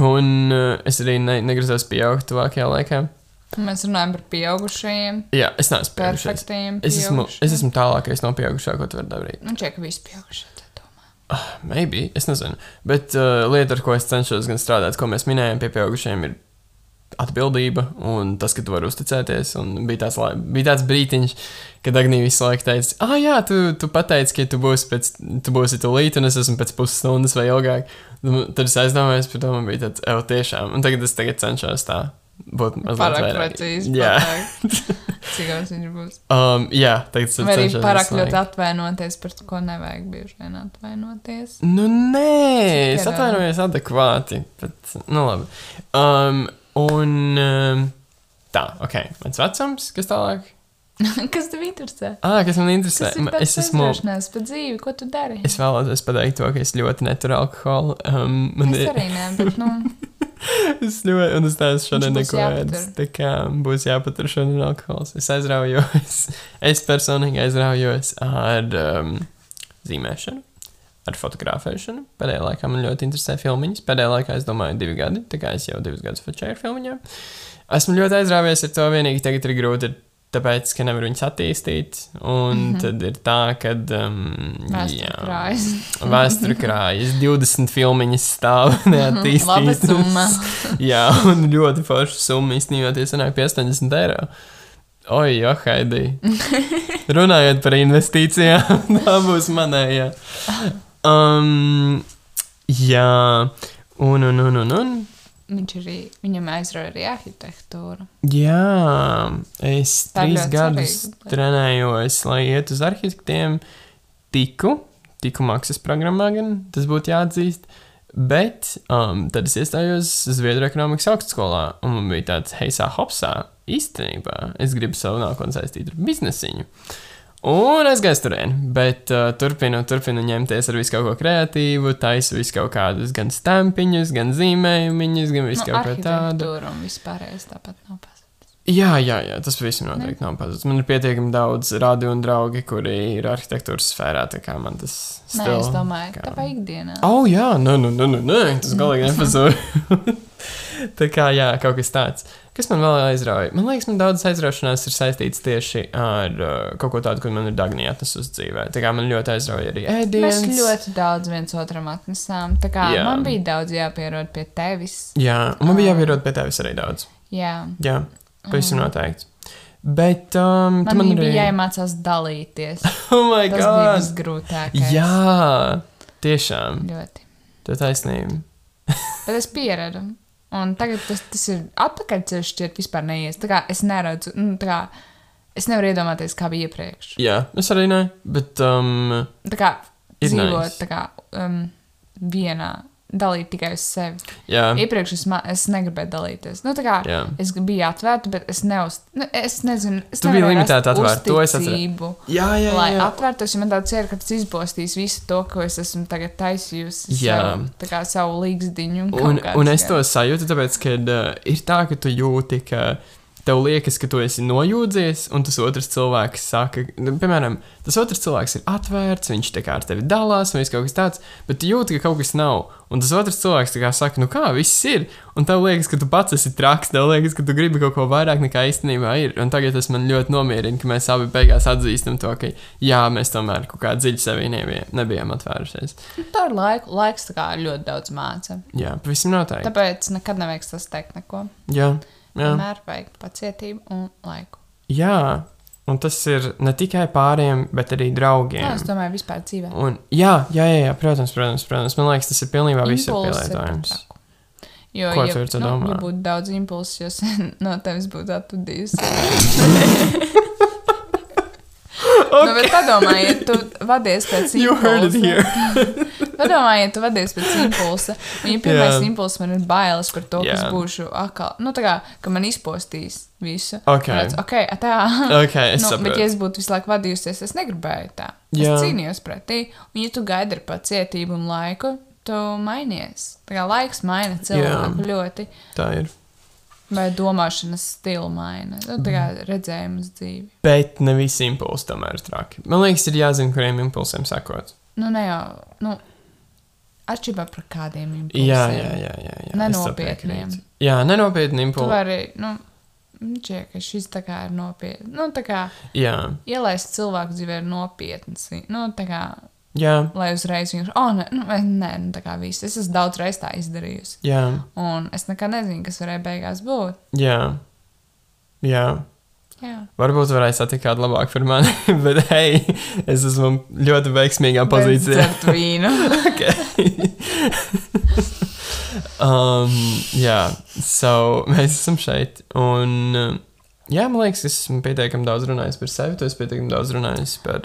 Un uh, es arī ne, negrasos pieaugt tuvākajā laikā.
Mēs runājam par pieaugušajiem,
Jā, es neesmu pieaugušais.
perfektiem.
Es esmu, es
pieaugušajiem.
esmu tālākais no pieaugušā, ko tu vari darīt.
Nu, čeka, visi pieaugušie. tad domā.
Ah, Maybe, es nezinu. Bet uh, lieta, ar ko es cenšos gan strādāt, ko mēs minējām pie pieaugušiem, ir atbildība un tas, ka tu vari uzticēties. Un bija tāds, lai, bija tāds brītiņš, kad Agnija visu laiku teica, ah, jā, tu, tu pateici, ka tu būsi, pēc, tu būsi tūlīt, un es esmu pēc pusstundas vai ilgāk. Un Tad es aizdomājos par to, man bija tāds, evo, tiešām. Un tagad es tagad cenšos tā būt mazliet
Pārāk
vairāk.
precīzi.
Jā.
pārāk. Cik gals viņš būs?
Um, jā, tagad es
Vai arī
cenšos
pārāk
vairāk.
ļoti atvainoties par to, ko nevajag bieži vien atvainoties.
Nu, nē, es
Cik ir,
atvainojos adekvāti. Bet, nu, labi. Um, un um, tā, ok, mans vecums, kas tālāk?
Kas tev interesē?
Ah, kas man interesē?
Kas ir
Ma-
tāds
Es esmu.
aizraušanās pa dzīvi, ko tu dari?
Es vēlos pateikt to, ka es ļoti neturu alkoholu. Um, man
es
ir
arī nē, bet, nu,
es ļoti, un es neesmu šodien
Viņš būs
neko ēdis. Tā kā būs jāpatur šodien alkohols. Es aizraujos, es personīgi aizraujos ar um, zīmēšanu, ar fotografēšanu. Pēdējā laikā man ļoti interesē filmiņas. Pēdējā laikā es domāju, divi gadi, tā kā es jau divus gadus fočēju ar filmiņām. Esmu ļoti aizrāvies ar to, vienīgi tagad ir grūti. Tāpēc, ka nevaru viņus attīstīt, un mm -hmm. tad ir tā, ka. Um,
vēsture Mhm. krājas.
Vēsture krājas, 20 filmiņas stāv neattīstītas.
Nu, Laba summa.
Jā, un ļoti forša summa īstenībā tie sanāk pie 80 eiro. Oi, jo, Haidī. Runājot par investīcijām, tā būs manējā. Um, jā, un, un, un, un, un.
Viņš arī, viņam aizrauja arī arhitektūru. Nu,
Jā, es
Tā ir
trīs
ļoti
gadus
svarīga lieta.
trenējos, lai iet uz arhitektiem. Tiku, tiku maksas programmā, gan tas būtu jāatzīst. Bet um, tad es iestājos Zviedru ekonomikas augstskolā, un man bija tāds heisā hopsā. Īstenībā es gribu savu nākotni saistīt ar biznesiņu. Un es gāju turien, bet uh, turpinu, turpinu ņemties ar visu kaut ko kreatīvu, taisu visu kaut kādus gan stampiņus, gan zīmējumiņus, gan visu nu,
Nu,
kaut ko tādu.
arhitektūra un vispārējais tāpat nav pazudis.
Jā, jā, jā tas visam noteikti nav pazudis. Man ir pietiekami daudz radi un draugi, kuri ir arhitektūras sfērā. Tā kā man tas
Nē,
still-
es domāju,
kā-
tā kā ikdienā.
Oh, jā, nē, nē, nē, nē, nē, nu, tas galīgi nepazūd. tā kā, jā, kaut kas tāds. Kas man vēl aizrauja? Man liekas, man daudzas aizraušanās ir saistītas tieši ar uh, kaut ko tādu, ko man ir Dāngnija atnesusi dzīvē. Tā kā man ļoti aizrauja arī
Mēs
ēdienas.
ļoti daudz viens otram atnesām. Tā kā
Jā.
jā. man bija daudz jāpierod pie tevis.
Jā, un man
Ah.
bija jāpierod pie tevis arī daudz.
Jā.
Jā, pavisam noteikti. Bet um, tu
Mm. Man,
man
man bija
arī.
jāiemācās dalīties.
Oh, my
Tas bija
God!
visgrūtākais.
Jā, tiešām.
Ļoti.
Tā taisnība.
Bet es pieradu. Un tagad tas, tas ir atpakaļceļš, šķiet, vispār neies. Tā kā es neredzu, nu, tā kā es nevaru iedomāties, kā bija iepriekš.
Jā, es arī ne. Bet, um,
Tā kā
Ir
dzīvot
nice.
tā kā um, vienā, dalīt tikai uz sevi.
jā,
Iepriekš es, ma- es negribēju dalīties. Nu, tā kā
jā.
es biju atvērta, bet es neuz... Nu, es nezinu, es
Tu biji
nevarēju rast
limitēti atvērta, to es atceros.
uzticību,
Jā, jā,
Lai
jā.
atvērtos, ja man tāds ir, ka tas izbostīs visu to, ko es esmu tagad taisījusi.
Jā.
Savu, tā kā savu līgsdiņu.
Un, un es to sajūtu, tāpēc, ka uh, ir tā, ka tu jūti, ka tev liekas, ka tu esi nojūdzies, un tas otrs cilvēks saka, nu, piemēram, tas otrs cilvēks ir atvērts, viņš tā kā ar tevi dalās, vai viss kaut kas tāds, bet tu jūti, ka kaut kas nav. Un tas otrs cilvēks tā kā saka, nu kā, viss ir, un tev liekas, ka tu pats esi traks, tev liekas, ka tu gribi kaut ko vairāk nekā īstenībā ir. Un tagad tas man ļoti nomierina, ka mēs abi beigās atzīstam to, ka jā, mēs tomēr kaut kā dziļi sevī nebijām, nebijām atvērušies.
Tā ir laika, laiks, tā kā ļoti daudz māca.
Jā, pavisam noteikti.
Tāpēc nekad nevajag sasteikt neko.
Jā, jā.
Vienmēr vajag pacietību un laiku.
Jā, un tas ir ne tikai pāriem, bet arī
Jā, Nu, es
draugiem.
domāju, vispār dzīvē.
Un, jā, jā, jā, jā, protams, protams, protams. Man liekas, tas ir pilnībā visur
Impulsi ir
pielietojams.
pat traku. Jo,
Ko
ja,
tu ar to
nu,
domā?
ja būtu daudz impulsu, jo sen no tevis būtu atpūtījis.
O,
Nu, bet padomājiet, tu vadies pēc
You heard it
impulsa.
here.
Padomājiet, tu vadies pēc impulsa. Viņa pirmais
Jā.
yeah. impulss man ir bailes par to, yeah.
Jā.
kas būšu atkal. Nu, tā kā, ka man izpostīs visu.
Ok.
Redz, ok, a tā.
Ok, es
nu, bet,
saprotu.
ja es būtu visu laiku vadījusies, es negribēju tā.
Jā.
Yeah. Es cīnījos pretī. Un, ja tu gaidi ar pacietību un laiku, tu mainies. Tā kā laiks maina cilvēku yeah. ļoti.
Tā ir.
Vai domāšanas stila maina. Nu, tā kā
Mhm.
redzējums dzīvi.
Bet ne visi impulsi tomēr ir traki. Man liekas, ir jāzina, kuriem impulsiem sakot.
Nu, ne jau. Nu, atšķirībā par kādiem impulsiem.
Jā, jā, jā. jā, jā es tev
Nenopietniem.
piekrītu. Jā, nenopietni
Tu
impulsi.
vari, nu, čie, ka šis tā kā ir nopietni. Nu, tā kā
Jā,
ielaist cilvēku dzīvē ir nopietns. Nu, tā kā,
jā,
lai uzreiz viņš, oh, nē, nu, vai- nē, nu, tā kā viss. Es esmu daudz reiz tā izdarījusi.
jā,
Un es nekad nezinu, kas varēja beigās būt.
jā. jā.
Jā.
Varbūt varēja satikt kādu labāku par mani, bet hei, es esmu ļoti veiksmīgā pozīcijā.
Dzert vīnu.
Um, jā, so mēs esam šeit. Un, um, jā, man liekas, es esmu pietiekami daudz runājis par sevi. Tu esi pietiekami daudz runājis par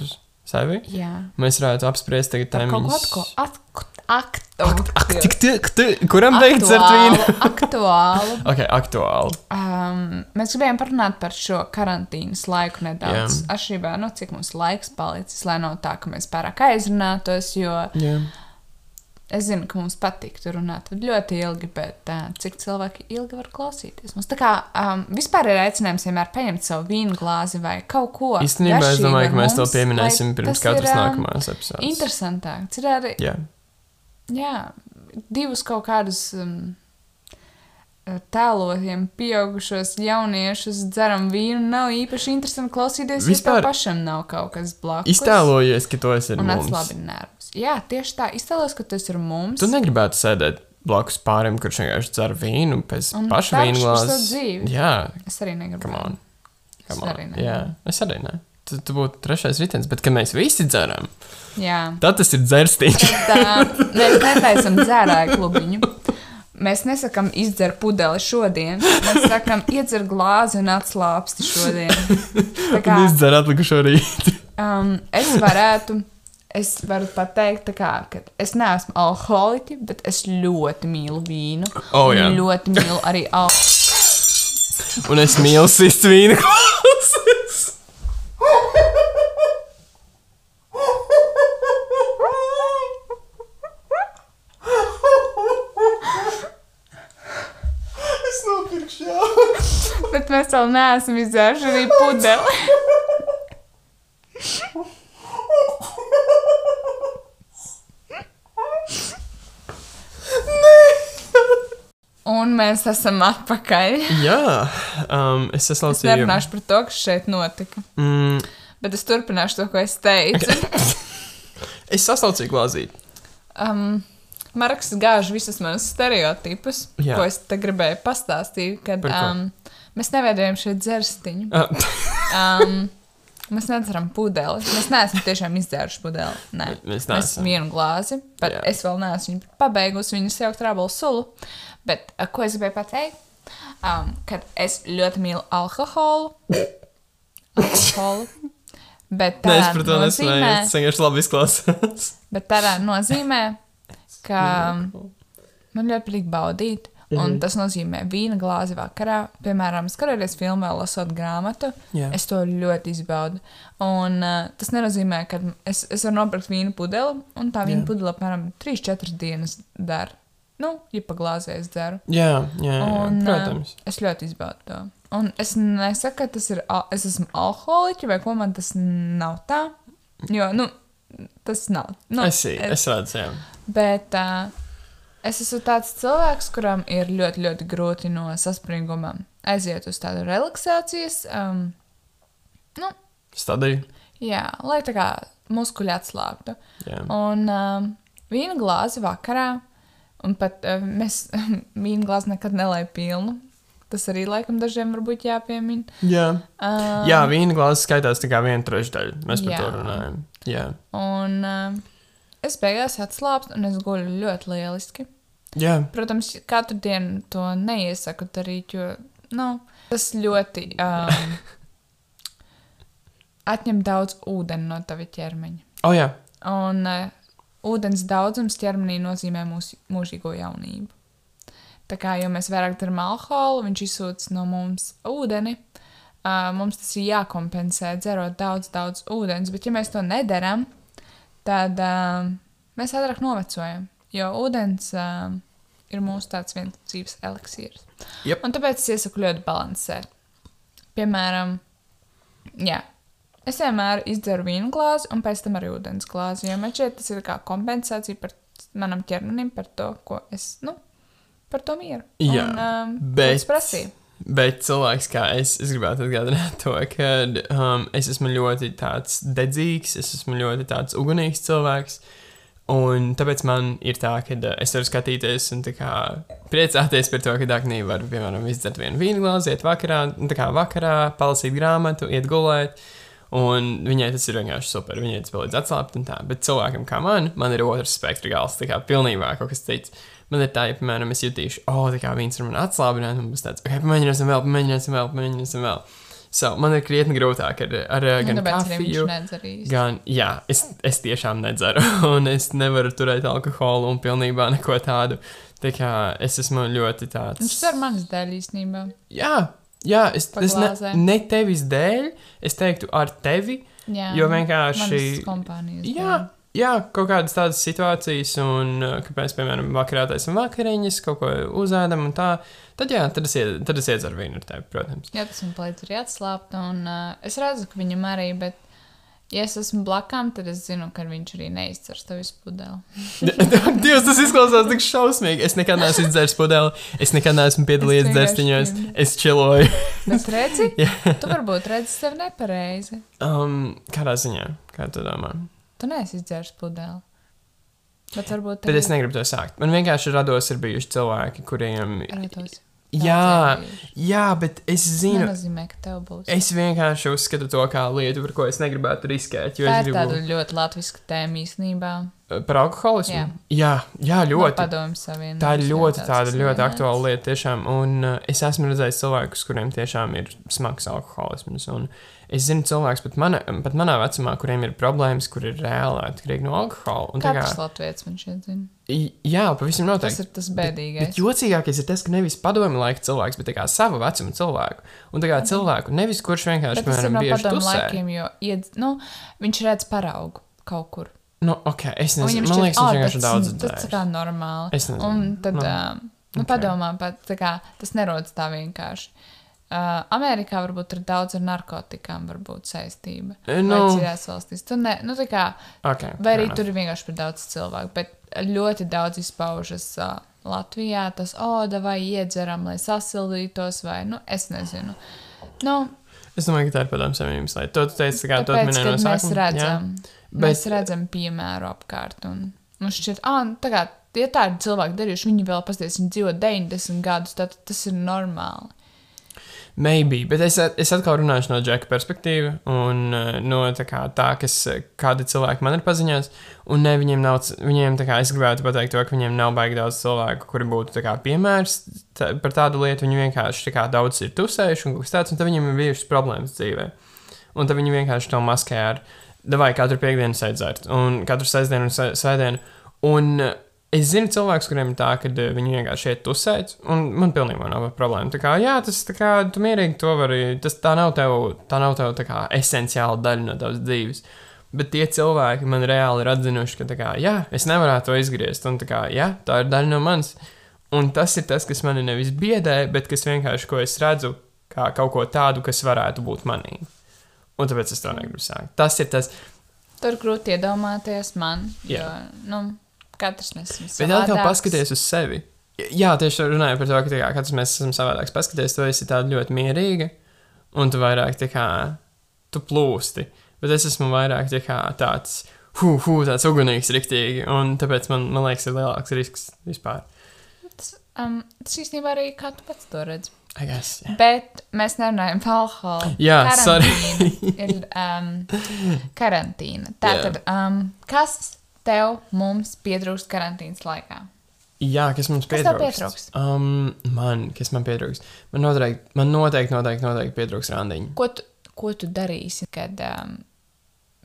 sevi.
jā.
Mēs varētu apspriest tagad
Par kaut
tēmas.
ko atko, akt, akt, akt,
Tik, tik, tik, kuram teikt dzert vīnu?
aktuālu.
Ok, aktuāli.
Um, mēs gribējām parunāt par šo karantīnas laiku nedaudz.
Jā.
Atšķirībā no cik mums laiks palicis, lai nav tā, ka mēs pārāk aizrunātos, jo
Jā.
es zinu, ka mums patīk tur runāt ļoti ilgi, bet uh, cik cilvēki ilgi var klausīties. Mums tā kā um, vispār ir aicinājums vienmēr paņemt savu vīnu glāzi vai kaut ko.
Īstenībā es
garšīgu
domāju, ka
ar
mēs to
mums,
pieminēsim
lai
pirms
tas ir,
katras
um,
nākamās epizodes.
Interesantāk. Tas ir arī
Jā,
jā, divus kaut kādus um, tēlotiem, pieaugušos jauniešus dzeram vīnu. Nav īpaši interesanti klausīties, Vispār...
Vispār-
ja tev pašam nav kaut kas blakus.
iztēlojies, ka to esi ar
un
mums.
atslābini nervus. Jā, tieši tā. Iztēlos, ka tu esi ar mums.
Tu negribētu sēdēt blakus pārim, kurš vienkārši dzer vīnu pēc
Un
paša
tarkšķi
vīnu
par savu
glāzes.
dzīvi.
Jā,
Es arī negribu.
Come on.
Es
Come on.
arī ne.
Jā, es arī ne. Tu, tu būtu trešais ritenis, bet kad mēs visi dzeram,
Jā.
tad tas ir dzērstīns.
Tā, mēs netaisam dzērāju klubiņu. Mēs nesakām, izdzer pudeli šodien. Mēs sakām, iedzer glāzi un atslābsti šodien. Tā
Kā izdzer atlikušo rītu?
Um, es varētu, es varu pateikt, tā kā, ka es neesmu alkoholiķi, bet es ļoti mīlu vīnu.
O,
Un
Oh, jā.
ļoti mīlu arī alkoholu.
Un es mīlu sist vīnu klausīties. Es nopirkšu jau.
Bet mēs vēl neesam izdzēruši arī pudeli. Un mēs esam atpakaļ.
Jā, um, es
Es
saslaucīju.
nerunāšu par to, kas šeit notika.
Mm,
Bet es turpināšu to, ko es teicu.
es saslaucīju glāzīt.
Um, Marks gāž visus manus stereotipus,
Jā.
Jā. ko es te gribēju pastāstīt. Kad
Par ko?
um, mēs neveidojam šeit dzērstiņu.
Ah,
Um, mēs nedzeram pudeli. Mēs neesam tiešām izdzēruši pudeli. Nē.
Mēs
Mēs
neesam.
vienu glāzi, bet
Jā.
Jā. es vēl neesmu viņu pabeigusi. Viņa jau trāpīja sulu. Bet uh, ko es gribēju pateikt? Um, kad es ļoti mīlu alkoholu. alkoholu.
Nē,
Bet tā
es par to nesmēju.
nozīmē,
Es vienkārši labi izklausās.
bet tādā nozīmē, ka man ļoti patīk baudīt.
Mhm.
Un tas nozīmē vīna glāzi vakarā, piemēram, skatoties filmu vai lasot grāmatu.
Jā.
Es to ļoti izbaudu. Un uh, tas nenozīmē, ka es, es varu nopirkt vīnu pudeli, un tā
Jā.
vīna pudele apmēram 3-4 dienas dara. Nu, ja pa glāzē es dzeru.
Jā, jā, jā
Un, eh, ā,
protams.
Es ļoti izbaudu to. Un es nesaku, ka tas ir. al- Es esmu alkoholiķis vai ko man tas nav tā. Jo, nu, tas nav. Nu,
Es, es redzu, jā.
Bet uh, es esmu tāds cilvēks, kuram ir ļoti, ļoti grūti no saspringuma aiziet uz tādu relaksācijas. Um, nu,
Stadiju.
jā, lai tā kā muskuļi atslābtu.
Jā.
Un um, vīna glāzi vakarā, un pat um, mēs vīna glāzi nekad nelaižam pilnu. Tas arī laikam dažiem varbūt jāpiemina.
Jā.
Um,
jā, vīna glāze skaitās tikai viena trešdaļa. Mēs par
Jā.
to runājam. Jā,
Un um, es beigās atslābstu, un es guļu ļoti lieliski.
jā.
Protams, katru dienu to neiesaku darīt, jo nu, tas ļoti. Um, atņem daudz ūdeni no tava ķermeņa.
O, oh, jā.
Un uh, ūdens daudzums ķermenī nozīmē mūsu mūžīgo jaunību. Tā kā jau mēs vairāk darām alkoholu, viņš izsūta no mums ūdeni. Uh, mums tas ir jākompensē, dzerot daudz, daudz ūdens, bet ja mēs to nedaram, tad uh, mēs ātrāk novecojam. Jo ūdens uh, ir mūsu tāds viens dzīves eliksīrs.
Jep.
Un tāpēc es iesaku ļoti balansēt. Piemēram, jā, es vienmēr izdzeru vīnu glāzi un pēc tam arī ūdens glāzi. Jo man šķiet, tas ir kā kompensācija par manam ķermenim, par to, ko es, nu, par to mieru.
Jā,
un, um,
bet-
Es prasīju.
Bet cilvēks, kā es, es gribētu atgādināt to, ka um, es esmu ļoti tāds dedzīgs, es esmu ļoti tāds ugunīgs cilvēks. Un tāpēc man ir tā, ka eh, es varu skatīties un tā kā priecāties par to, ka Dāngnī var, piemēram, izdzert vienu vīnu glāzi, iet vakarā, un tā kā vakarā, palasīt grāmatu, iet gulēt. Un viņai tas ir vienkārši super. Viņai tas palīdz atslābt un tā. Bet cilvēkam, kā man, man ir otrs spektra gals, tā kā pilnībā kaut kas cits. Man ir tā, ja, piemēram, es jutīšu, oh, tā kā viens ir man atslābinājis, un būs tāds, ok, pamēģināsim vēl, pamēģināsim vēl, pamēģināsim vēl. So, man ir krietni grūtāk ar, ar uh, gan
Un Nu, tāpēc arī viņš
kafiju,
nedzer īsti.
Gan, jā, es, es tiešām nedzeru, un es nevaru turēt alkoholu un pilnībā neko tādu. Tā kā es esmu ļoti tāds.
Viņš ir manas dēļ īstenībā.
Jā, jā es,
Pa
es ne,
glāzē.
ne tevis dēļ, es teiktu ar tevi.
Jā,
Jo vienkārši-
manas kompānijas.
Jā,
dēļ.
jā, kaut kādas tādas situācijas, un uh, kāpēc, piemēram, vakarā taisam vakariņas, kaut ko uzēdam un tā. Tad, jā, tad es, ied- tad es iedzeru vīnu ar tevi, protams.
Jā, tas man palīdz arī atslābt. Un, uh, es redzu, ka viņam arī, bet, ja es esmu blakām, tad es zinu, ka viņš arī neizcers to visu pudeli.
Dievs, tas izklausās tik šausmīgi. Es nekad neesmu izdzēris pudeli, es nekad neesmu piedalījies
vienkārši
dzērstiņos,
ņemu.
es čiloju.
Bet redzi, tu varbūt redzi sevi nepareizi.
Um, kādā ziņā, kā tu domā?
Tu neesi izdzēris pudeli. Bet varbūt
Bet es negribu to sākt. Man vienkārši rados ir bijuši cilvēki, kuriem.
Rados.
Jā, jā, bet es
Tas
zinu,
nozīmē, ka tev būs.
es vienkārši uzskatu to kā lietu, par ko es negribētu riskēt. Jo
Tā
es
ir
gribu
tāda ļoti latviska tēma īstenībā.
par alkoholismu.
Jā.
jā, jā
Ļoti.
ļoti.
Padomju savienība.
Tā ir ļoti, tāda, ļoti aktuāla lieta. Tiešām. Un uh, es esmu redzējis cilvēkus, kuriem tiešām ir smags alkoholisms. Un es zinu cilvēkus pat, mana, pat manā vecumā, kuriem ir problēmas, kur ir reāli atkarīgi no alkohola. Un Nu, tā kā-
Katrs latviešu viņš iedzina.
I- Jā, pavisam noteikti.
Tas ir tas
Bet,
bēdīgais.
bet jocīgākais ir tas, ka nevis padomju laika cilvēks, bet tā kā sava vecuma cilvēku. Un tā kā cilvēku, nevis kurš vienkārši,
Mhm. Bet tas ir
piemēram,
no
bieži
padomu
tusē.
laikiem, jo iedz, nu, viņš redz paraugu kaut kur.
Nu, ok, es
Un
nezinu.
viņam
Man
šķiet,
liekas, viņš
"Ā,
vienkārši
tas-
daudz
Tas tā
dzērs.
kā normāli.
Es nezinu.
Un tad,
Nu,
ā, nu,
ok.
padomā, pat, tā kā, tas nerodas tā vienkārši. Uh, Amerikā varbūt ir daudz ar narkotikām varbūt saistība.
Nu.
Vai citās valstīs. Tu ne, nu, tā kā,
Ok,
vai arī
fair
tur ir vienkārši par daudz cilvēku, bet ļoti daudz izpaužas uh, Latvijā. Tas, o, vai iedzeram, lai sasildītos, vai, nu, es nezinu. Nu,
enough. Es domāju, ka tā ir padomu savienības lieta. To tu teici, tā kā tu
Tāpēc,
atminēji no
kad mēs
sākuma.
redzam,
Bet-
bet... mēs redzam piemēru apkārt. Un mums šķiet, ah, nu, tā kā ja tā ir cilvēki darījuši, viņi vēl pasties, viņi dzīvo 90 gadus, tad tas ir normāli.
Maybe, bet es, at- es atkal runāšu no džeka perspektīvas un eh, no tā, kā, tā kas, eh, kādi cilvēki man ir paziņās. Un ne, viņiem nav, c- viņiem, tā kā, es gribētu pateikt, to, ka viņiem nav baigi daudz cilvēku, kuri būtu tā kā, piemērs tā, par tādu lietu. Viņi vienkārši tā kā, daudz ir tusējuši un kaut kas tāds, un tad viņiem ir bijušas problēmas dzīvē. Un tad viņi vienkārši to maskē ar, vai katru piekdienu sēdzēt, un katru sestdienu un sē- sēdienu. Un, eh, Es zinu cilvēkus, kuriem ir tā, ka eh, viņi vienkārši iet uzsēdz, un man pilnībā nav problēma. Tā kā, jā, tas tā kā, tu mierīgi to vari, tas tā nav tev, tā nav tev tā kā esenciāla daļa no tavas dzīves. Bet tie cilvēki man reāli ir atzinuši, ka, tā kā, jā, es nevaru to izgriezt, un tā kā, jā, tā ir daļa no manis. Un tas ir tas, kas mani nevis biedē, bet kas vienkārši, ko es redzu, kā kaut ko tādu, kas varētu būt manī. Un tāpēc es to negribu sākt. Tas ir tas,
Tur grūti iedomāties man, jo
Jā.
nu, katrs nesīs.
Bet atkal paskaties uz sevi. Jā, tieši runāju par to, ka tā kā katrs mēs esam savādāks. Paskaties, tu esi tāda ļoti mierīga, un tu vairāk tā kā tu plūsti. Bet es esmu vairāk tā kā tāds, hu, hu, tāds ugunīgs, riktīgi, un tāpēc man, man liekas, ir lielāks risks vispār.
Tas, um, tas īstenībā arī kā tu pats to redz.
I guess, yeah.
Bet mēs nerunājam par alkoholu.
Jā,
Karantīna ir um, karantīna. Tātad, um, kas tev mums pietrūkst karantīnas laikā?
Jā, kas mums
Kas tev
pietrūkst? Um, man, kas man pietrūkst? Man noteikti, man noteikti, noteikti, noteikti pietrūkst randiņu.
Ko tu, ko tu darīsi, kad um,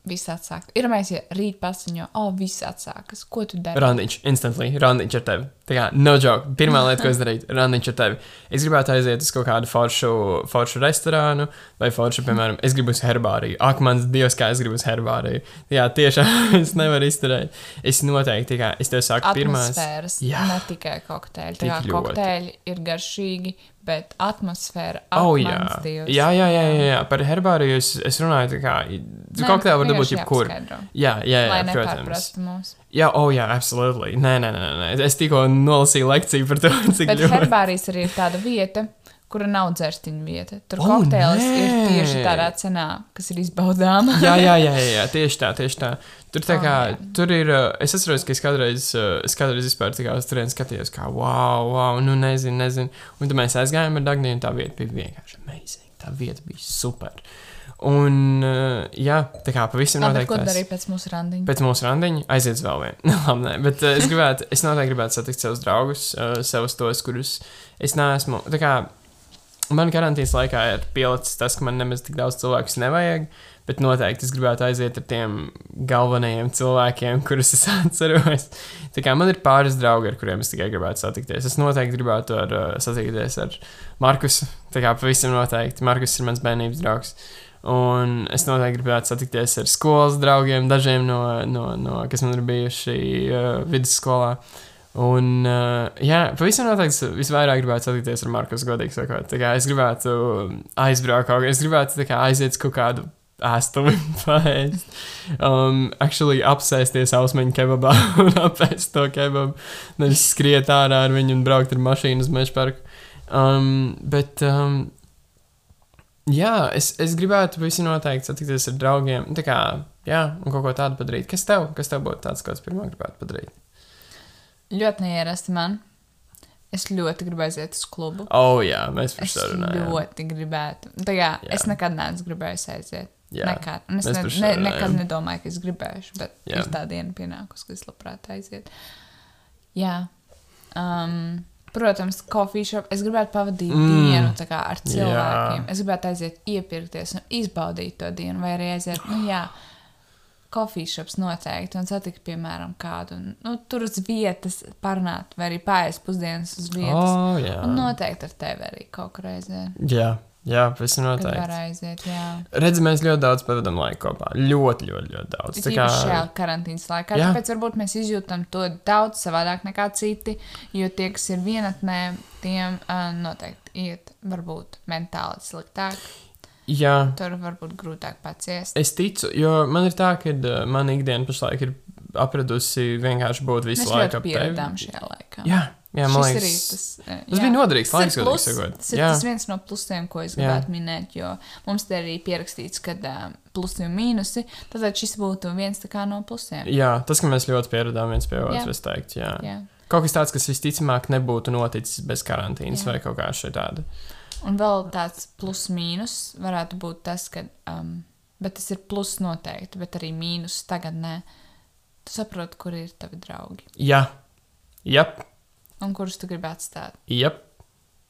viss atsākas. Ir mēs, ja rīt paziņo, o, oh, viss atsākas, ko tu dari?
Randiņš, instantly, randiņš ar tevi. Tā kā, no joke, pirmā lieta, ko es darītu, randiņš ar tevi. Es gribētu aiziet uz kaut kādu foršu, foršu restorānu, vai foršu, piemēram, es gribu uz herbāriju. Ak, mans dievs, kā es gribu uz herbāriju. Jā, tiešām es nevaru izturēt. Es noteikti, tā kā, es tev saku, pirmās.
Atmosfēras,
Jā.
ne tikai kokteļi. Tā kā
Tik ļoti.
kokteļi ir garšīgi, bet atmosfēra
Oh,
ir
jā.
atmosfēra.
Jā, jā, jā, jā, jā, par herbāriju es, es runāju, tā kā, tu kokteili var dabūt jebkur. Jā, jā, jā,
Lai
protams.
nepārprastu mums.
Jā, oh, jā, absolūti. Nē, nē, nē, nē, es tikko nolasīju lekciju par to, cik
Bet
ļoti.
herbārijas arī ir tāda vieta, kura nav dzērstiņa vieta. Tur
O,
oh, kokteils ir
nē!
tieši tādā cenā, kas ir izbaudāma.
jā, jā, jā, jā, jā, tieši tā, tieši tā. Tur, tā
Ah,
kā,
jā.
tur ir. uh, Es atceros, ka es kādreiz, uh, es kādreiz vispār tā kā uz turienes skatījos, kā, wow, wow, nu nezinu, nezinu. Un tad mēs aizgājām ar Dāngniju, un tā vieta bija vienkārši amazing. Tā vieta bija super. Un, uh, jā, tā kā pavisam
Labi, bet
noteikti.
ko tu
tās-
darīji pēc mūsu randiņa?
Pēc mūsu randiņa aiziet uz vēl vienu. Labi, nē, bet uh, es gribētu, es noteikti gribētu satikt savus draugus, uh, savus tos, kurus es neesmu. tā Kā, man karantīnas laikā ir pielicis tas, ka man nemaz tik daudz cilvēku nevajag, bet noteikti es gribētu aiziet ar tiem galvenajiem cilvēkiem, kurus es atceros. Tā kā man ir pāris draugi, ar kuriem es tikai gribētu satikties. Es noteikti gribētu ar, uh, satikties ar Markusu. Tā kā pavisam noteikti. Markus ir mans bērnības draugs. Un es noteikti gribētu satikties ar skolas draugiem, dažiem no, no, no kas man ir bijuši uh, vidusskolā. Un, uh, jā, pavisam noteikti es visvairāk gribētu satikties ar Marku, godīgi sakot. Tā kā es gribētu aizbraukt kaut kur, es gribētu tā kā, aiziet uz kaut kādu ēstuvi, pēc um, actually apsēsties ausmeņu kebabā un apēst to kebabu. Nevis skriet ārā ar viņu un braukt ar mašīnu uz meža parku. Um, bet, um, jā, es, es gribētu visi noteikti satikties ar draugiem. Tā kā, jā, un kaut ko tādu padarīt. Kas tev, kas tev būtu tāds, ko es pirmā gribētu padarīt?
Ļoti neierasti man. Es ļoti gribu aiziet uz klubu.
O, oh, jā, mēs par
Es
to runājam.
ļoti gribētu. Tā kā
Jā.
es nekad neesmu gribējusi aiziet.
Jā.
Nekad. Un es
Mēs
ne,
par šo
ne,
runājam.
nekad nedomāju, ka es gribēšu, bet
Jā.
jā. ir tā diena pienākusi, ka es labprāt aizietu. Jā. Um, protams, kofīšu shop. Es gribētu pavadīt mm.
Mm.
dienu tā kā ar cilvēkiem. Jā. Es gribētu aiziet, iepirkties un izbaudīt to dienu, vai arī aiziet. Nu, jā, kofīšops noteikti, un satikt, piemēram, kādu un, nu, tur uz vietas parunāt, vai arī paiest pusdienas uz
O,
vietas.
oh, jā.
Un noteikti ar tevi arī kaut kur aiziet.
jā, jā, pavisam
Kad var
noteikti.
aiziet, jā.
Redzi, mēs ļoti daudz pavadām laiku kopā. Ļoti, ļoti, ļoti daudz.
It īpaši šajā karantīnas laikā,
Jā.
jā. tāpēc varbūt mēs izjūtam to daudz savādāk nekā citi, jo tie, kas ir vienatnē, tiem uh, noteikti iet varbūt mentāli sliktāk,
jā,
tur varbūt grūtāk paciest.
Es ticu, jo man ir tā, ka uh, mana ikdiena pašlaik ir apradusi vienkārši būt visu
Mēs
laiku
ļoti
ap tevi.
pieredzām šajā laikā.
Jā, jā man
Šis
liekas,
arī tas, eh,
tas
jā.
bija noderīgs
Tas
laiks,
ir,
ko
plus,
sagot.
tas ir
Jā.
tas viens no plusiem, ko es gribētu jā. minēt, jo mums te arī pierakstīts, ka uh, plusi un mīnusi, tad šis būtu viens tā kā no plusiem.
jā, tas, ka mēs ļoti pieradām viens pie otras,
Jā.
es teiktu, jā. jā.
Jā.
Kaut kas tāds, kas visticamāk nebūtu noticis bez karantīnas
Jā.
vai kaut kā šāda.
Un vēl tāds plus mīnus varētu būt tas, ka. Um, bet tas ir plus noteikti, bet arī mīnus tagad nē. Tu saproti, kur ir tavi draugi
Jā, jep,
un kurus tu gribi atstāt.
jep.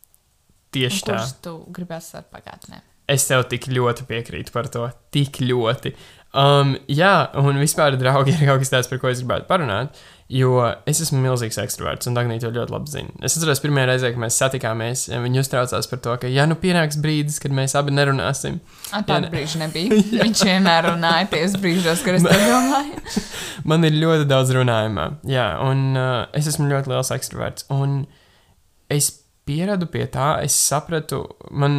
Un
Tieši tā.
kurus tu gribi atstāt pagātnē.
Es tev tik ļoti piekrītu par to. Tik ļoti. Um, jā, un vispār, draugi, ir kaut kas tāds, par ko es gribētu parunāt. Jo es esmu milzīgs ekstravagants, un Dāngnija to ļoti labi zina. Es atceros, pirmā reize, kad mēs satikāmies, viņa uztraucās par to, ka, ja nu pienāks brīdis, kad mēs abi nerunāsim,
A, Tāda
ne.
brīža nebija. Viņš vienmēr runāja tajos brīžos, kad es to domāju.
man ir ļoti daudz runājumā. Jā, un uh, es esmu ļoti liels ekstraverts. Un es pieradu pie tā, es sapratu, man,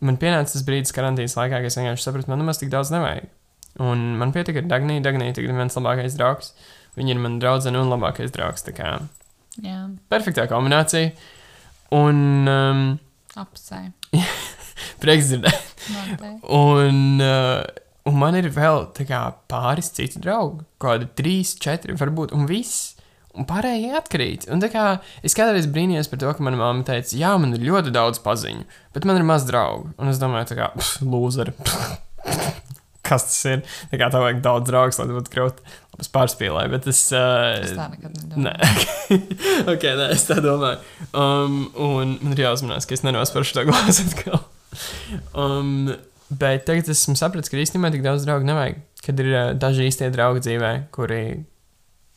man pienāca tas brīdis karantīnas laikā, kad es vienkārši sapratu, man nemaz tik daudz nevajag. Un man pietika ar Dagniju. Dagnija tagad ir mans labākais draugs. Viņa ir mana draudzene un labākais draugs. Tā kā
Jā,
perfektā kombinācija. Un um,
apsai.
prieks dzirdēt.
Noteikti.
Un, uh, un man ir vēl tā kā, pāris citi draugi, kādi trīs, četri, varbūt, un viss. Un pārējie atkrīt. Un tā kā es kādreiz brīnījos par to, ka mana mamma teica, jā, man ir ļoti daudz paziņu, bet man ir maz draugu. Un es domāju, tā kā, pff, lūzeri. Kas tas ir? Tā kā tev vajag daudz draugu, lai tu būtu krūti. Labi, es pārspīlēju, bet es.
Es
Uh,
tā nekad
Nē,
nedomāju.
ok, nē, es tā domāju. Um, un man ir jāuzmanās, ka es nenospēršu to glāzi atkal. Um, Bet tagad esmu sapratis, ka īstenībā tik daudz draugu nevajag. Kad ir ā, daži īstie draugi dzīvē, kuri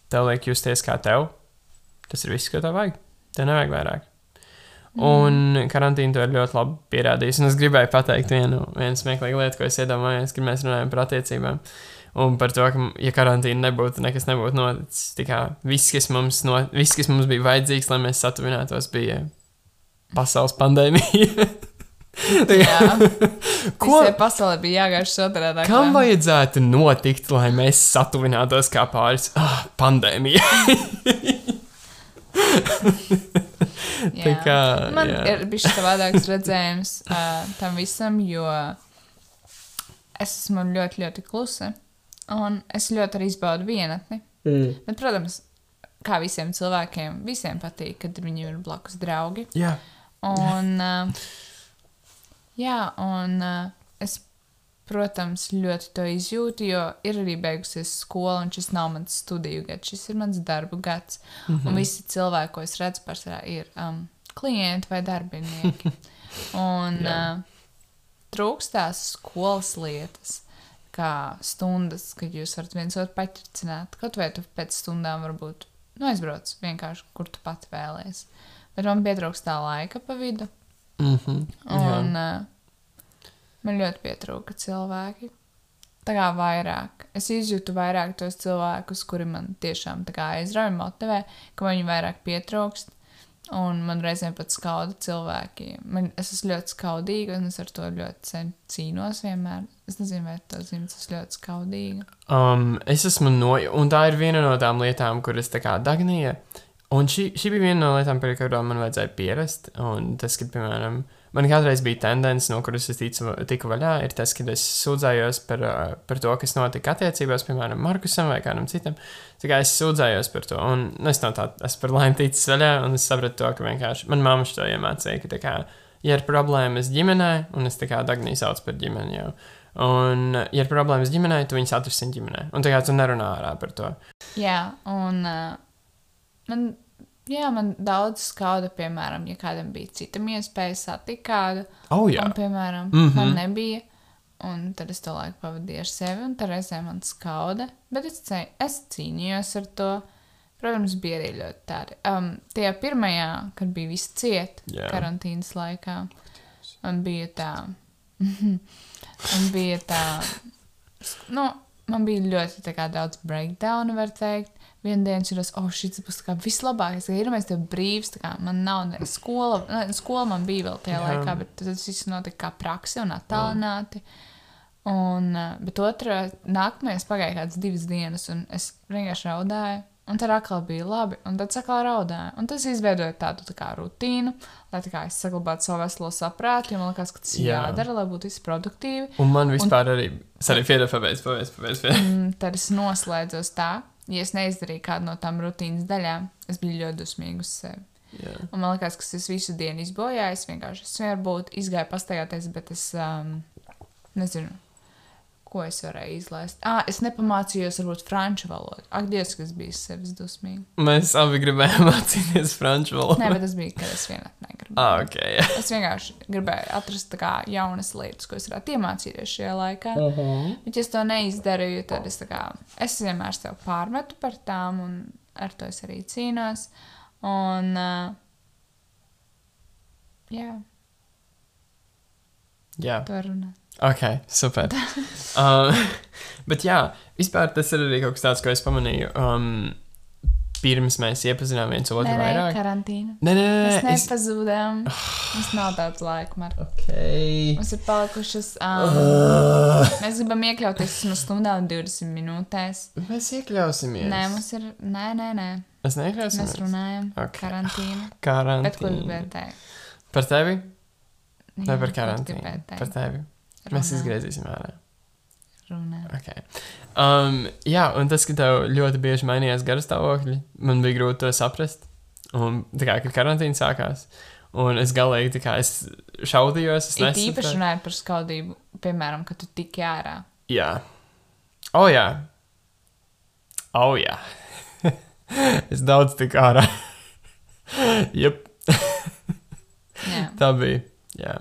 tev liek justies kā tev, tas ir viss, ko tev vajag. Tev nevajag vairāk.
Mm.
Un karantīna to ir ļoti labi pierādījusi. Un es gribēju pateikt vienu, vienu smieklīgu lietu, ko es iedomājos, kad mēs runājam par attiecībām. Un par to, ka, ja karantīna nebūtu, nekas nebūtu noticis. Tā kā viss, kas mums, no, viss, kas mums bija vajadzīgs, lai mēs satuvinātos, bija pasaules pandēmija. Tā kā-
Jā,
Ko-
visai pasaulē bija jāgāž otrādi.
Kam vajadzētu notikt, lai mēs satuvinātos kā pāris ah, pandēmija? tā kā,
Man
jā.
ir bijis savādāks redzējums uh, tam visam, jo es esmu ļoti, ļoti klusa. Un es ļoti arī izbaudu vienatni.
Mm.
Bet, protams, kā visiem cilvēkiem, visiem patīk, kad viņiem ir blakus draugi.
Jā,
Un, uh, jā, un uh, es, protams, ļoti to izjūtu, jo ir arī beigusies skola, un šis nav mans studiju gads, šis ir mans darbu gads. Mm
Mhm.
-hmm. Un visi cilvēki, ko es redzu, pārsvarā ir um, klienti vai darbinieki. un uh, trūkstās skolas lietas. Kā stundas, kad jūs varat viens otru paķircināt. Kaut vai tu pēc stundām varbūt nu, aizbrauc vienkārši, kur tu pati vēlēsies. Bet man pietrūkst tā laika pa vidu.
mm -hmm.
Un, uh, man ļoti pietrūka cilvēki. Tā kā vairāk. Es izjūtu vairāk tos cilvēkus, kuri man tiešām tā kā aizrauja, motivē, ka man viņu vairāk pietrūkst. Un man reizēm pat skauda cilvēki. Man, es esmu ļoti skaudīga, un es ar to ļoti cen, cīnos vienmēr. Es nezinu, vai tas zīmēs, tas ļoti skaudīgi.
um, es esmu no, un tā ir viena no tām lietām, kuras tā kā Dagnija. Un šī, šī bija viena no lietām, pie kurām man vajadzēja pierast. Un tas, ka, piemēram, man kādreiz bija tendence, no kuras es ticu, tiku vaļā, ir tas, ka es sūdzējos par, uh, par to, kas notika attiecībās, piemēram, Markusam vai kādam citam. Tā kā es sūdzējos par to, un nu, es no tā esmu par laimi ticis vaļā, un es sapratu to, ka vienkārši man mamma šo iemācīja, ka, tā kā, ja ir problēmas ģimenē, un es tā kā Dagnija sauc par ģimeni jau. Un, ja ir problēmas ģimenē, tu viņus atrisini ģimenē. Un tā kā tu nerunā ārā par to.
Jā, un uh, man, jā, man daudz skauda, piemēram, ja kādam bija cita iespēja satikt kādu,
Oh, jā.
un, piemēram, mm
Mhm.
-hmm. man nebija. Un tad es to laiku pavadīju ar sevi, un tā reizē man skauda. Bet es, ce- es cīnījos ar to. Protams, bija arī ļoti tādi. Um, tajā pirmajā, kad bija viss ciet,
Jā.
yeah. karantīnas laikā, man bija tā. man bija tā. Nu, man bija ļoti tā kā daudz breakdownu, var teikt. Vienu dienu es jūtos, oh, šis būs tā kā vislabākais. ka Ir mēs te brīvs, tā kā man nav ne skola. Ne, skola man bija vēl
Jā.
tajā Jā. laikā, bet tas viss notika kā praksi un attālināti. Un, eh, bet otrā nākamajā pagāja kādas divas dienas, un es vienkārši raudāju. Un tad atkal bija labi, un tad atkal raudāju. Un tas izveidoja tādu tā kā rutīnu, lai tā kā es saglabātu savu veselo saprātu, jo man liekas, ka tas ir
Jā.
jādara, lai būtu viss produktīvi.
Un man vispār un... arī. Sorry, Fēda, pabeidz, pabeidz, pabeidz. pabeidz.
Mm, tad es noslēdzos tā, ja es neizdarīju kādu no tām rutīnas daļām, es biju ļoti dusmīga uz sevi.
Jā.
Un man liekas, ka es visu dienu izbojāju, es vienkārši es varu būt, izgāju pastaigāties, bet es um, nezinu, ko es varēju izlaist. Ah, es nepamācījos varbūt franču valodu. Ak, Dievs, kas bija sevis dusmīgi.
Mēs abi gribējām mācīties franču valodu.
Nē, bet tas bija, kad es vienatnē gribēju.
Ah, ok. Jā.
Es vienkārši gribēju atrast tā kā, jaunas lietas, ko es varētu iemācīties šajā laikā.
Uh -huh.
Bet, ja es to neizdarīju, tad es, tā kā, es vienmēr sev pārmetu par tām, un ar to es arī cīnos. Un, uh, jā,
Jā.
to runā.
Ok, super. um, bet jā, vispār tas ir arī kaut kas tāds, ko es pamanīju. Um, pirms mēs iepazinām viens otru
Nē, nē,
vairāk.
karantīna.
Nē, nē,
Mēs
nē. Es... Ah.
nepazūdām. Mums nav daudz laika, Marta.
Okay.
Mums ir palikušas. Um,
Uh,
mēs gribam iekļauties vismaz stundā un 20 minūtēs.
mēs iekļausimies.
Nē, mums ir. Nē, nē, nē.
Mēs
Mēs
neiekļausimies.
runājam par
Ok.
karantīnu.
Karantīna.
Bet ko gribētu teikt?
Par tevi? Vai
Jā,
par
ko
karantīnu?
gribētu teikt?
Par tevi. Mēs
Runā,
izgriezīsim ārā.
Runā.
Okay. Um, jā, un tas, ka tev ļoti bieži mainījās garastāvokļi, man bija grūti to saprast. Un tā kā kad karantīna sākās, un es galīgi tā kā es šaudījos, es
Es īpaši
nesapratu.
runāju par skaudību, piemēram, kad tu tiki ārā.
Jā. O oh, jā. O oh, jā. es daudz tik ārā. Jep.
Jā,
Tā bija. Jā.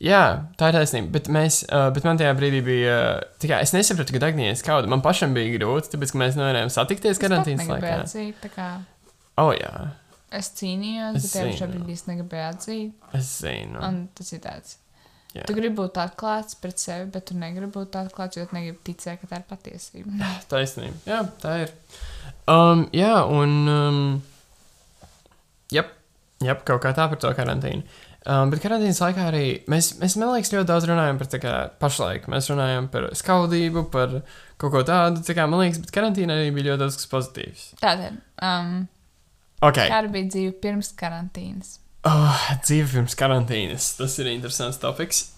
Jā, tā ir taisnība. Bet, mēs, uh, bet man tajā brīdī bija. Uh, tā kā es nesapratu, ka Agnēs kaut kāda. Man pašam bija grūti, tāpēc ka mēs nevarējām satikties karantīnas laikā.
atzīt. tā kā
O, oh, jā,
Es cīnījos,
Es
bet tev
zinu.
šobrīd īstenībā negribēju atzīt.
es zinu.
Un tas ir tāds.
Jā.
Tu gribi būt atklāts pret sevi, bet tu negribi būt atklāts, jo tu negribi ticēt, ka tā ir patiesība.
Taisnība. Jā, tā ir. Um, jā, un. Um, jā, jā, kaut kā tā par to karantīnu. Um, bet karantīnas laikā arī mēs, mēs, man liekas, ļoti daudz runājam par tā kā pašlaik. Mēs runājam par skaudību, par kaut ko tādu. Tā kā, man liekas, bet karantīna arī bija ļoti daudz kas pozitīvs.
Tātad, um,
Okay.
kāda bija dzīve pirms karantīnas?
Oh, dzīve pirms karantīnas. Tas ir interesants topoks.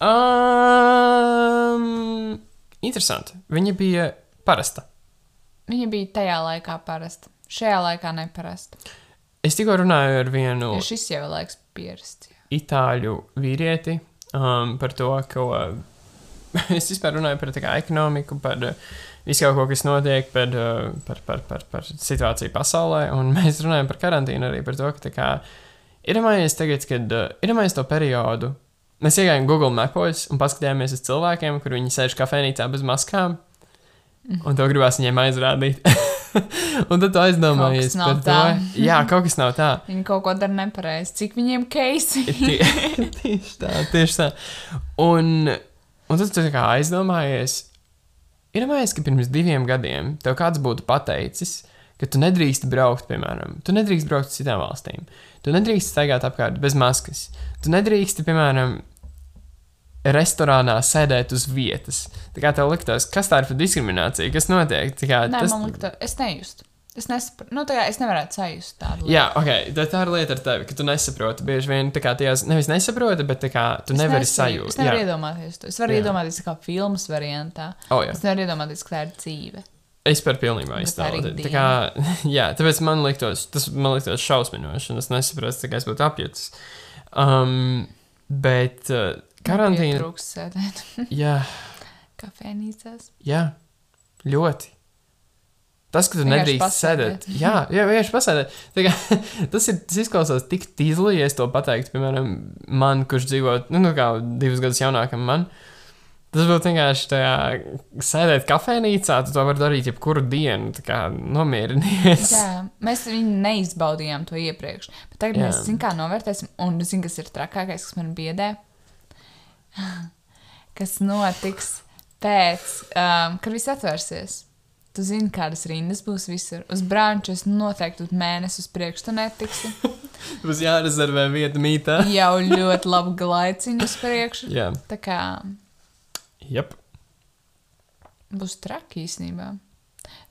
Um, interesanti. Viņa bija parasta.
Viņa bija tajā laikā parasta. Šajā laikā neparasta.
Es tikko runāju ar vienu
Jo šis jau ir laiks pierasts. jau.
itāļu vīrieti um, par to, ka es vispār runāju par tā kā ekonomiku, par uh, visu kaut ko, kas notiek, par, uh, par, par, par, par situāciju pasaulē. Un mēs runājam par karantīnu arī par to, ka tā kā iedomājieties tagad, kad uh, iedomājieties to periodu. Mēs iegājām Google mapos un paskatījāmies uz cilvēkiem, kur viņi sēž kafejnīcā bez maskām.
Mhm.
Un to gribās viņiem aizrādīt. un tad tu aizdomājies
nav
par to.
tā.
Jā, kaut kas nav tā.
Viņi kaut ko dara nepareizi. Cik viņiem keisi?
Tie- tieši tā, tieši tā. Un, un tad tu tā kā aizdomājies, ir amazīgi, ka pirms diviem gadiem tev kāds būtu pateicis, ka tu nedrīkst braukt, piemēram, tu nedrīkst braukt uz citām valstīm, tu nedrīkst staigāt apkārt bez maskas, tu nedrīkst, piemēram, restorānā sēdēt uz vietas. Tā kā tev liktos, kas tā ir par diskrimināciju, kas notiek? Tā Kā,
Nē,
tas...
man liekas, es nejustu. Es nesaprotu. Nu, tā kā es nevarētu sajust tādu lietu.
Jā, ok, tā tā ir lieta ar tevi, ka tu nesaproti. Bieži vien tā kā tajās nevis nesaproti, bet tā kā tu
Es
nevari
nespēju-
sajust.
Es nevaru iedomāties to. Es varu
Jā.
iedomāties, kā filmas variantā.
Oh, jā.
Es nevaru iedomāties, ka tā ir dzīve.
Es par pilnībā
Bet
iztēloju.
arī
Tā kā, jā, tāpēc man liktos, tas man liktos šausminoši, un es nesaprotu, kā es būtu apjutis. Um, bet uh, karantīna.
Trūks sēdēt
Jā,
kafejnīcās.
jā, ļoti. Tas, ka tu
Vienkārši
nedrīkst
pasēdēt.
sēdēt. Jā, jā, vienkārši pasēdēt. Tā Kā, tas, ir, tas izklausās tik tīzli, ja es to pateiktu, piemēram, man, kurš dzīvo, nu, nu kā divus gadus jaunākam man. Tas būtu vienkārši tajā sēdēt kafejnīcā, tu to vari darīt jebkuru dienu, tā kā nomierinies.
Jā, mēs viņu neizbaudījām to iepriekš. Bet tagad
Jā.
mēs zinām, kā novērtēsim. Un zinām, kas ir trakākais, kas man biedē. kas notiks pēc, um, kad viss atvērsies. Tu zini, kādas rindas būs visur. Uz brāļa es noteikti uz mēnesi uz priekšu tu netiksi.
Būs jārezervē vieta mītā.
Jau ļoti labu glaiciņu uz priekšu.
Jā,
Tā kā
yep.
Būs traki īstenībā.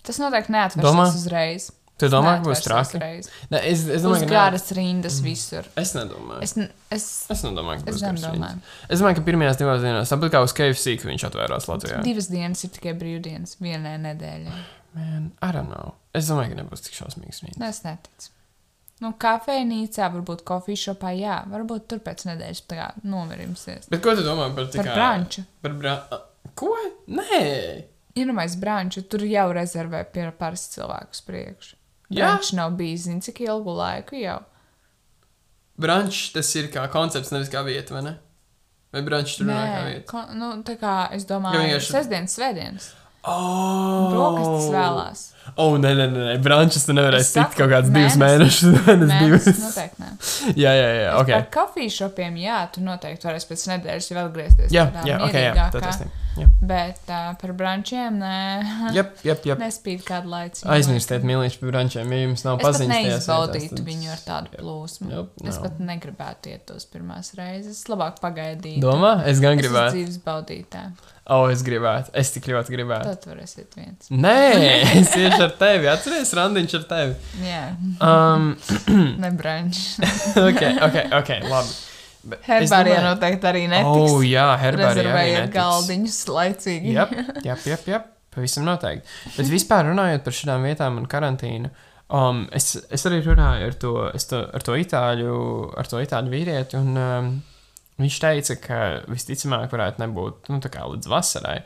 Tas noteikti neatvērsies Domā?
Domā?
uzreiz.
tu domā, ka būs
Neatversies
traki?
Uzreiz.
Nē, es, es domāju,
Es
ka
domāju,
nē.
Būs
Mm.
gāras rindas visur.
Es nedomāju. Es,
Es, n- es,
es nedomāju, ka
es
būs garas
nedomāju.
rindas. Es domāju, ka pirmajās divās dienās, tāpat kā uz KFC, ka viņš atvērās Latvijā.
Divas dienas ir tikai brīvdienas, vienā nedēļā.
Man, I don't know. Es domāju, ka nebūs tik šausmīgs rīns.
Nē, es neticu. Nu, kafejnīcā, varbūt kofīšopā, jā, varbūt tur pēc nedēļas tā kā novirimsies.
Bet ko tu domā par tā
Par
kā-
brānču.
Par brā... Ko? Nē!
Iedomājieties, brāļš, tur jau rezervē pie parasts cilvēkus priekšu.
Jā.
Brāļš nav bijis, zinu, cik ilgu laiku jau.
Brānčs tas ir kā koncepts, nevis kā vieta, vai ne? Vai brānčs tur runā kā vieta?
ko, nu, tā kā es domāju,
Jo
ka
vienkārši-
sestdienas, svētdienas,
Oh!
brokastis vēlās.
O, oh, nē, nē, nē, nē. brānčs tu nevarēsi
Es
tikt
saku,
kaut kāds divus
mēnesis.
mēnešus. Mēnesis,
Mēnesis nu,
divus.
noteikti nē.
Jā, jā, jā, ok.
Okay. Par kafīšopiem, jā, tu noteikti varēsi pēc nedēļas jau atgriezties.
Jā,
tādā
jā, ok, jā, tā
mierīgākā,
tas ir.
Bet uh, par brančiem, nē,
Jā, jā, jā.
nespīd kādu laiku.
Aizmirstiet, mīlīgi, par brančiem, ja jums nav
Es pat
paziņas. tajās
neizbaudītu
vietās, tad-
viņu ar tādu plūsmu.
Jop,
Es
nav.
pat negribētu iet tos pirmās reizes. Es labāk pagaidīju.
Domā, es gan
Es
gribētu.
esmu dzīves baudītāja.
O, oh, es gribētu. Es tik ļoti gribētu.
Tad varēsiet
Mm.
viens.
Nē, es iešu ar tevi. Atceries, randiņš ar tevi.
Jā,
Um,
ne brančs.
ok, ok, ok, labi. Bet es
Herbārijā
domāju-
noteikti arī netiks.
O, jā, herbārijā. arī
Rezervējiet
netiks.
galdiņus laicīgi.
Jā, jā, jā, jā, pavisam noteikti. Bet vispār runājot par šīm vietām un karantīnu, um, es, es arī runāju ar to, es to, ar to itāļu, ar to itāļu vīrieti. Un, um, viņš teica, ka visticamāk varētu nebūt nu, tā kā līdz vasarai.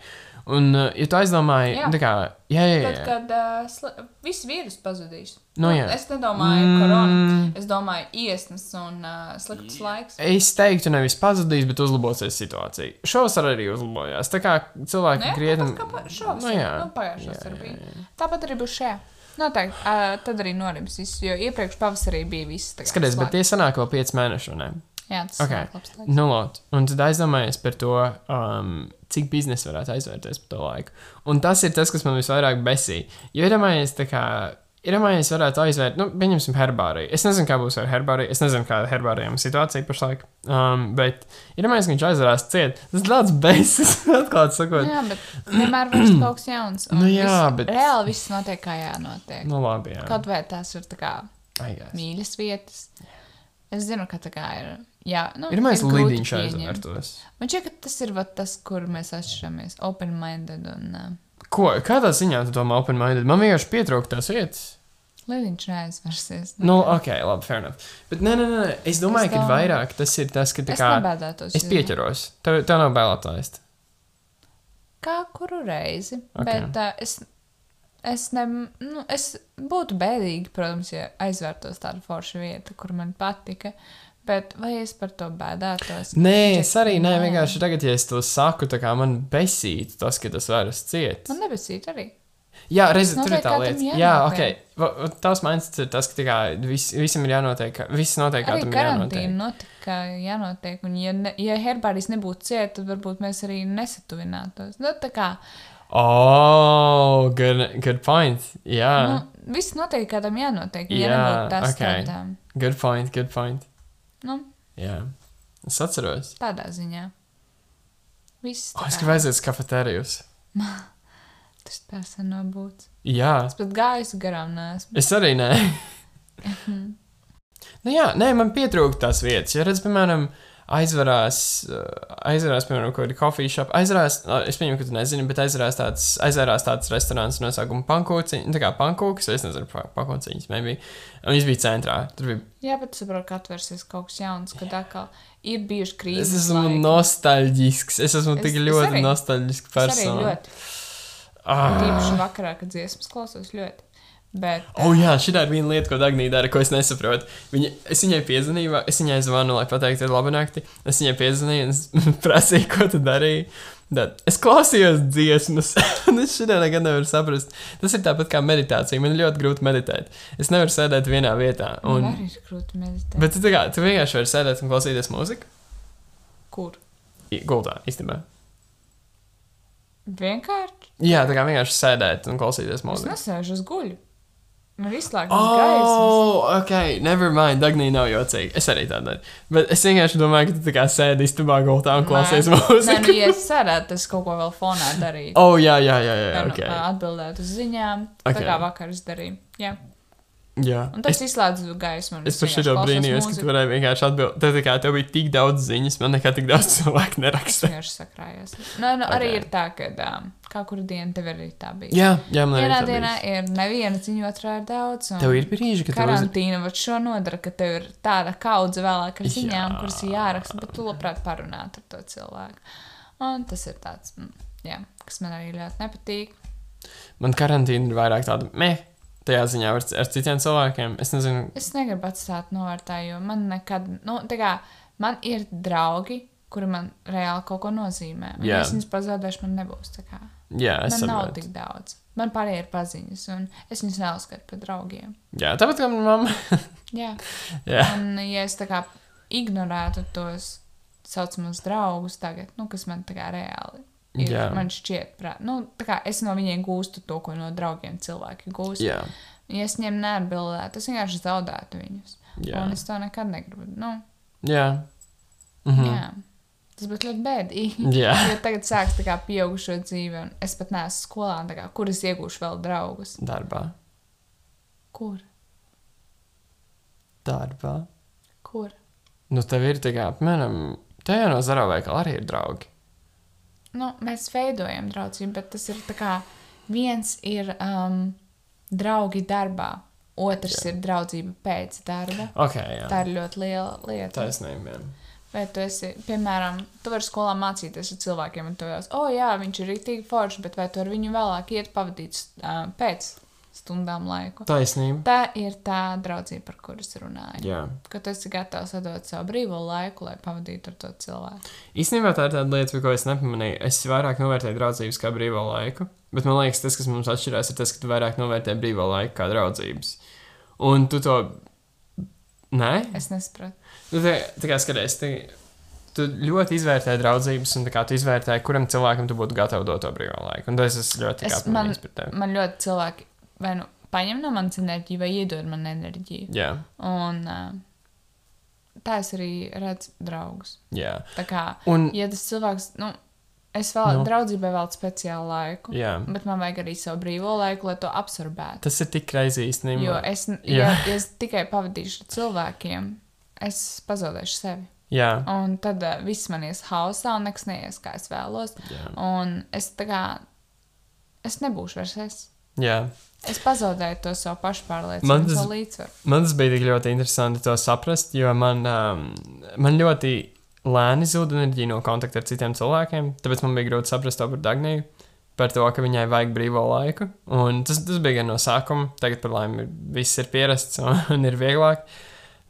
Un, uh, ja tu aizdomāji,
Jā.
tā kā, jā, jā, jā.
Tad, kad uh, sli... viss vīrus pazudīs.
Nu, jā.
es nedomāju,
Mm.
mm. korona. Es domāju, iesnas un uh, slikts laiks.
Es teiktu, nevis pazudīs, bet uzlabosies situācija. Šovasar arī uzlabojās. Tā kā
Nu,
cilvēki
Nē,
krietni.
tāpat Nu kā pa- šovasar.
Nu, jā.
Nu, pagājušā
Jā,
vasarā
jā,
bija.
jā.
Tāpat arī būs šajā. Noteikti. Uh, tad arī norims viss, jo iepriekš pavasarī bija viss. tā kā
Skaties, bet
slēgts.
tie sanāk vēl 5 mēneši, vai ne?
Jā, tas
Okay.
ir labs laiks.
Nu, lot. un tad aizdomājies par to, um, cik biznesa varētu aizvērties par to laiku. Un tas ir tas, kas man visvairāk besīja. Jo iedomājies, tā kā. Iedomājies, varētu aizvērt, nu, pieņemsim, herbāriju. Es nezinu, kā būs ar herbāriju, es nezinu, kāda ir herbārijam situācija pašlaik. Um, bet, iedomājieties, ka viņš aizvērās ciet. Tas tāds beigas, atklāti sakot.
Jā, bet vienmēr būs kaut kas jauns. un
Nu jā,
viss-
bet-
Reāli viss notiek, kā jānotiek.
Nu, labi, jā.
Kaut vai tās ir tā kā
Ai, jā.
mīļas vietas. Es zinu, ka tā kā ir. Jā, nu,
Ir mans
grūti
līdiņš
pieņemt.
aizvērtos.
Man šķiet, ka tas ir vat tas, kur mēs atšķiramies. Open-minded un uh,
Ko, kādā ziņā tu domā open-minded? Man vienkārši pietrūkst tās vietas.
līdiņš neaizversies.
Nu, ok, labi, fair enough. Bet nē, nē, nē, es domāju,
Es
ka ir
domāju.
vairāk tas ir tas, ka tā
es
kā.
nebēdētos.
Es
jo-
pieķeros. Tev, tev nav bailētājs.
Kā kuru reizi.
Ok.
Okay. Bet uh, es, es, ne, nu, es būtu bēdīgi, protams, ja aizvērtos tāda forša vieta, kur man patika. Bet vai es par to bēdātos?
Nē, es arī nē,
Nē.
vienkārši tagad, ja es to saku, tā kā man besīt tas, ka tas vairs ciet.
Man nebesīt arī.
Jā, reizē
Tas
tur ir
notiek
tā
kādam
lieta. Jā, ok.
jānotiek.
Va- va- Tās manis ir tas, ka tā kā vis, visam ir jānotiek, ka- viss notiek, kā
Arī
tam ir jānotiek.
karantīna notika, jānotiek. Un, ja, ne, ja herbārijas nebūtu cieta, tad varbūt mēs arī nesatuvinātos. Nu, tā kā
Oh, good, good point.
nu,
Jā,
viss notiek, kādam jānotiek. Ja
Ah. Jā,
nebūtu tās
ok.
okay. tādām,
good point, good point.
nu,
Jā, es atceros.
tādā ziņā. Viss
Oh, es
tā
gribu aiziet uz kafetērijus.
tas personu būtu.
Jā,
Es pat gāju garām, nesmu.
Es arī nē. nu jā, nē, man pietrūkst tās vietas. Ja redz, piemēram, aizvarās, uh, aizvarās piemēram, kaut kāda kofija šāpa, aizvarās, ā, es pieņemu, ka tu nezini, bet aizvarās tāds, aizvarās tāds restorāns ar nosaukumu pankūciņa, tā kā pankūks, es nezinu, pa- pankūciņas, maybe. Un viņš bija centrā. Tur bija,
Jā, bet saprotu, ka atvērsies kaut kas jauns, kad atkal ir bijuši
es
krīzes.
esmu
laiki.
nostalģisks, es esmu
Es-
tik
es
ļoti
arī.
nostalģisks
Es arī
persona.
ļoti.
Ah.
Tīpaši vakarā, kad dziesmas klausos ļoti. Bet
O, oh, jā, šī ir viena lieta, ko Dāngnija dara, ko es nesaprotu. Viņa, es viņai piezvanīju, es viņai zvanu, lai pateiktu, labu nakti. Es viņai piezvanīju, un es prasīju, ko tu darīji. Tad es klausījos dziesmas, un es šodien nekad nevaru saprast. Tas ir tāpat kā meditācija. Man ir ļoti grūti meditēt. Es nevaru sēdēt vienā vietā.
un...
Un...
arī ir grūti meditēt. Bet...
Bet tu, tā kā, tu vienkārši vari sēdēt un klausīties mūziku?
Kur?
I- Gultā, īstenībā.
Vienkārši.
Jā, tā kā vienkārši sēdēt un klausīties
Es
mūziku.
nesēžu uz guļu. Man ir izslēgts oh! gaisa.
Oh, ok, never mind. Dāngnī nav jocīga. Es arī tā daru. Bet es vienkārši domāju, ka tu tā kā sēdi istabā gultā un klausies
Nē, nu,
mūziku.
ja es sēdētu, es kaut ko vēl fonā darītu.
O, oh, jā, jā, jā, jā,
Vai nu,
ok.
Atbildēt uz ziņām.
Ok.
Tā kā vakar es darīju. Jā.
Jā.
Un tas izslēdz gaismu. un
Es par
vienkārši
šito
klausos
brīnījos, ka
mūziku.
tu varēji vienkārši atbildēt. Tad, tā kā tev bija tik daudz ziņas, man nekad tik daudz cilvēku
Es
neraksta.
vienkārši sakrājos. Nē, nu, arī
Ok.
ir tā, ka um, kā kur diena tev arī tā bija.
Jā, jā, man
Vienā
arī. tā
dienā
bijis.
ir neviena ziņa, otrā ir daudz. un
Tev ir brīži, kad tev ir.
Karantīna var šo nodara, ka tev ir tāda kaudze vēlāk ar
Jā.
ziņām, kuras ir jāraksta, bet tu labprāt parunāt ar to cilvēku. Un tas ir tāds, mm, jā, kas man arī ļoti nepatīk.
Man karantīna ir vairāk tāda meh, tajā ziņā ar, ar citiem cilvēkiem. Es nezinu,
Es negribu atstāt novārtā, jo man nekad, nu, tā kā man ir draugi, kuri man reāli kaut ko nozīmē. Un
Jā.
ja es viņus pazaudēšu, man nebūs tā kā.
jā, es
Man nav
saprotu.
tik daudz. Man pārējie ir paziņas, un es viņus neuzskatu par draugiem.
Jā, tāpat kā manā mamā.
Jā.
Jā.
Un, ja es tā kā ignorētu tos saucamus draugus tagad, nu, kas man tā kā reāli ir,
Jā.
man šķiet, prā... nu, tā kā es no viņiem gūstu to, ko no draugiem cilvēki gūst.
Jā,
Ja es viņiem neatbildētu, es vienkārši zaudētu viņus.
jā.
Un es to nekad negribu. Nu,
Jā. Mhm.
jā. Tas būtu ļoti bēdīgi.
Jā.
Jo tagad sākas tā kā pieaugušo dzīve, un es pat neesmu skolā, un tā kā, kur es iegūšu vēl draugus?
Darbā.
Kur?
Darbā.
Kur?
Nu, tev ir tikai, piemēram, te jau no Zara veikala arī ir draugi.
nu, mēs veidojam draugību, bet tas ir tā kā viens ir um, draugi darbā, otrs jā. ir draudzība pēc darba.
Ok, jā.
Tā ir ļoti liela lieta.
Taisnība. jā.
Vai tu esi, piemēram, tu vari skolā mācīties ar cilvēkiem, un tu jau esi, oh, jā, viņš ir rītīgi foršs, bet vai tu ar viņu vēlāk iet pavadīt uh, pēc stundām laiku?
Taisnība.
Tā ir tā draudzība, par kuras runāju.
Jā.
Ka tu esi gatavs atdot savu brīvo laiku, lai pavadītu ar to cilvēku.
Īstenībā tā ir tāda lieta, ko es nepamanīju. Es vairāk novērtēju draudzības kā brīvo laiku, bet man liekas, tas, kas mums atšķirās, ir tas, ka tu vairāk novērtē brīvo laiku kā draudzības. Un tu to. Nē,
Es nesapratu.
nu, tā, tā kā skaties, tu, tu ļoti izvērtē draudzības, un tā kā tu izvērtē, kuram cilvēkam tu būtu gatavs dot to brīvo laiku. Un tas es ļoti
Es, man,
apmainīgs par tevi.
man ļoti cilvēki vai nu paņem no manas enerģijas, vai iedod man enerģiju.
Jā,
Un uh, tā es arī redzu draugus.
jā.
Tā kā,
Un,
ja tas cilvēks, nu, es vēl
Nu.
nu. draudzībai veltu speciālu laiku,
jā.
bet man vajag arī savu brīvo laiku, lai to absorbētu.
Tas ir tik greizi īstenībā.
Jo es,
Jā.
ja, ja es tikai pavadīšu ar cilvēkiem, es pazaudēšu sevi.
Jā,
Un tad uh, viss man ies hausā un nekas neies, kā es vēlos.
jā.
Un es tā kā, es nebūšu vairs es.
jā.
Es pazaudēju to savu pašpārliecību,
Man
tas...
tas-
savu līdzsvaru.
Man tas bija tik ļoti interesanti to saprast, jo man, um, man ļoti lēni zūd enerģija no kontakta ar citiem cilvēkiem. Tāpēc man bija grūti saprast to par Dagniju, par to, ka viņai vajag brīvo laiku. Un tas, tas bija gan no sākuma, tagad par laimi ir- viss ir pierasts un ir vieglāk.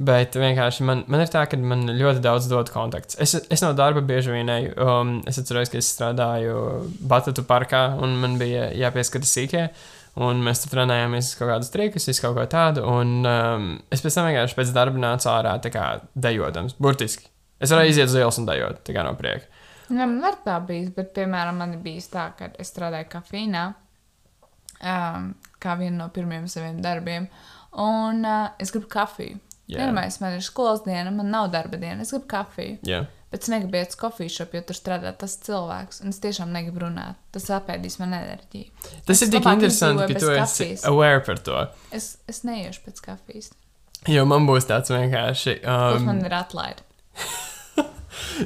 Bet vienkārši man, man ir tā, ka man ļoti daudz dod kontakts. Es, es no darba bieži vien eju. Um, es atceros, ka es strādāju Batatu parkā un man bija jāpieskata sīkajai. Un mēs tur trenējāmies uz kaut kādas trikus, visu kaut ko tādu. Un um, es pēc tam vienkārši pēc darba nācu ārā, tā kā dejojams, burtiski. Es varēju iziet uz ielas un dejot, tā kā no prieka.
Jā, man Nu, var tā bijis, bet, piemēram, man ir bijis tā, ka es strādāju kafīnā, um, kā viena no pirmajiem saviem darbiem, un uh, es gribu kafiju.
Jā.
Pirmā man ir skolas diena, man nav darba diena, es gribu kafiju.
Jā,
Bet es negribu iet uz kofiju šopu, jo tur strādā tas cilvēks, un es tiešām negribu runāt. Tas apēdīs man enerģiju.
tas
Es
ir tik
labāk
interesanti,
izdzīvoju
ka
bez
tu esi
kafijas.
aware par to.
Es, es neiešu pēc kafijas.
Jo man būs tāds vienkārši.
Um,
Um,
man ir atlaide.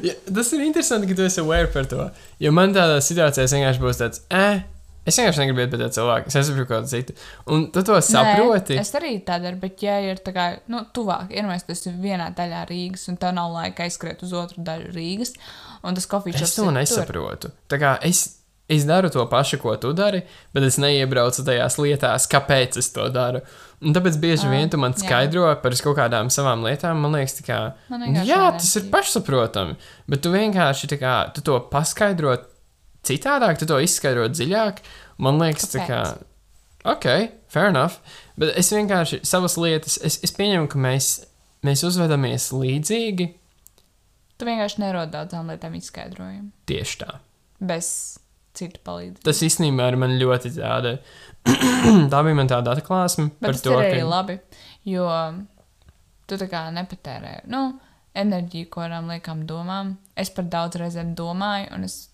Ja, tas ir interesanti, ka tu esi aware par to. Jo man tādā situācijā vienkārši būs tāds, eh, es vienkārši negribu iet pie tā cilvēka, es esmu kaut kāds cits. Un tu to saproti.
Nē, es arī tā daru, bet, ja ir tā kā, nu, tuvāk, ir mēs tas vienā daļā Rīgas, un tev nav laika aizskriet uz otru daļu Rīgas, un tas kofīčs
Es to nesaprotu. Tā kā es, es daru to pašu, ko tu dari, bet es neiebraucu tajās lietās, kāpēc es to daru. Un tāpēc bieži
Ah,
vien tu man
jā.
skaidro par kaut kādām savām lietām. Man liekas, tā kā,
Man
nu
vienkārši
jā,
nav
tas ir
vērtības.
pašsaprotami. Bet tu vienkārši tā kā, tu to paskaidro citādāk, tu to izskaidro dziļāk. Man liekas, tā kā,
Kāpēc?
ok, fair enough. Bet es vienkārši savas lietas, es, es pieņemu, ka mēs, mēs uzvedamies līdzīgi
Tu vienkārši nerod daudzām lietām izskaidrojumu.
tieši tā.
Bez citu palīdzības.
Tas īstenībā ir man ļoti tāda. tā bija man tāda atklāsme
Bet
par
tas
to,
ir arī
ka.
labi, jo tu tā kā nepatērē, nu, enerģiju, ko varam liekam domām. Es par daudz reizēm domāju, un es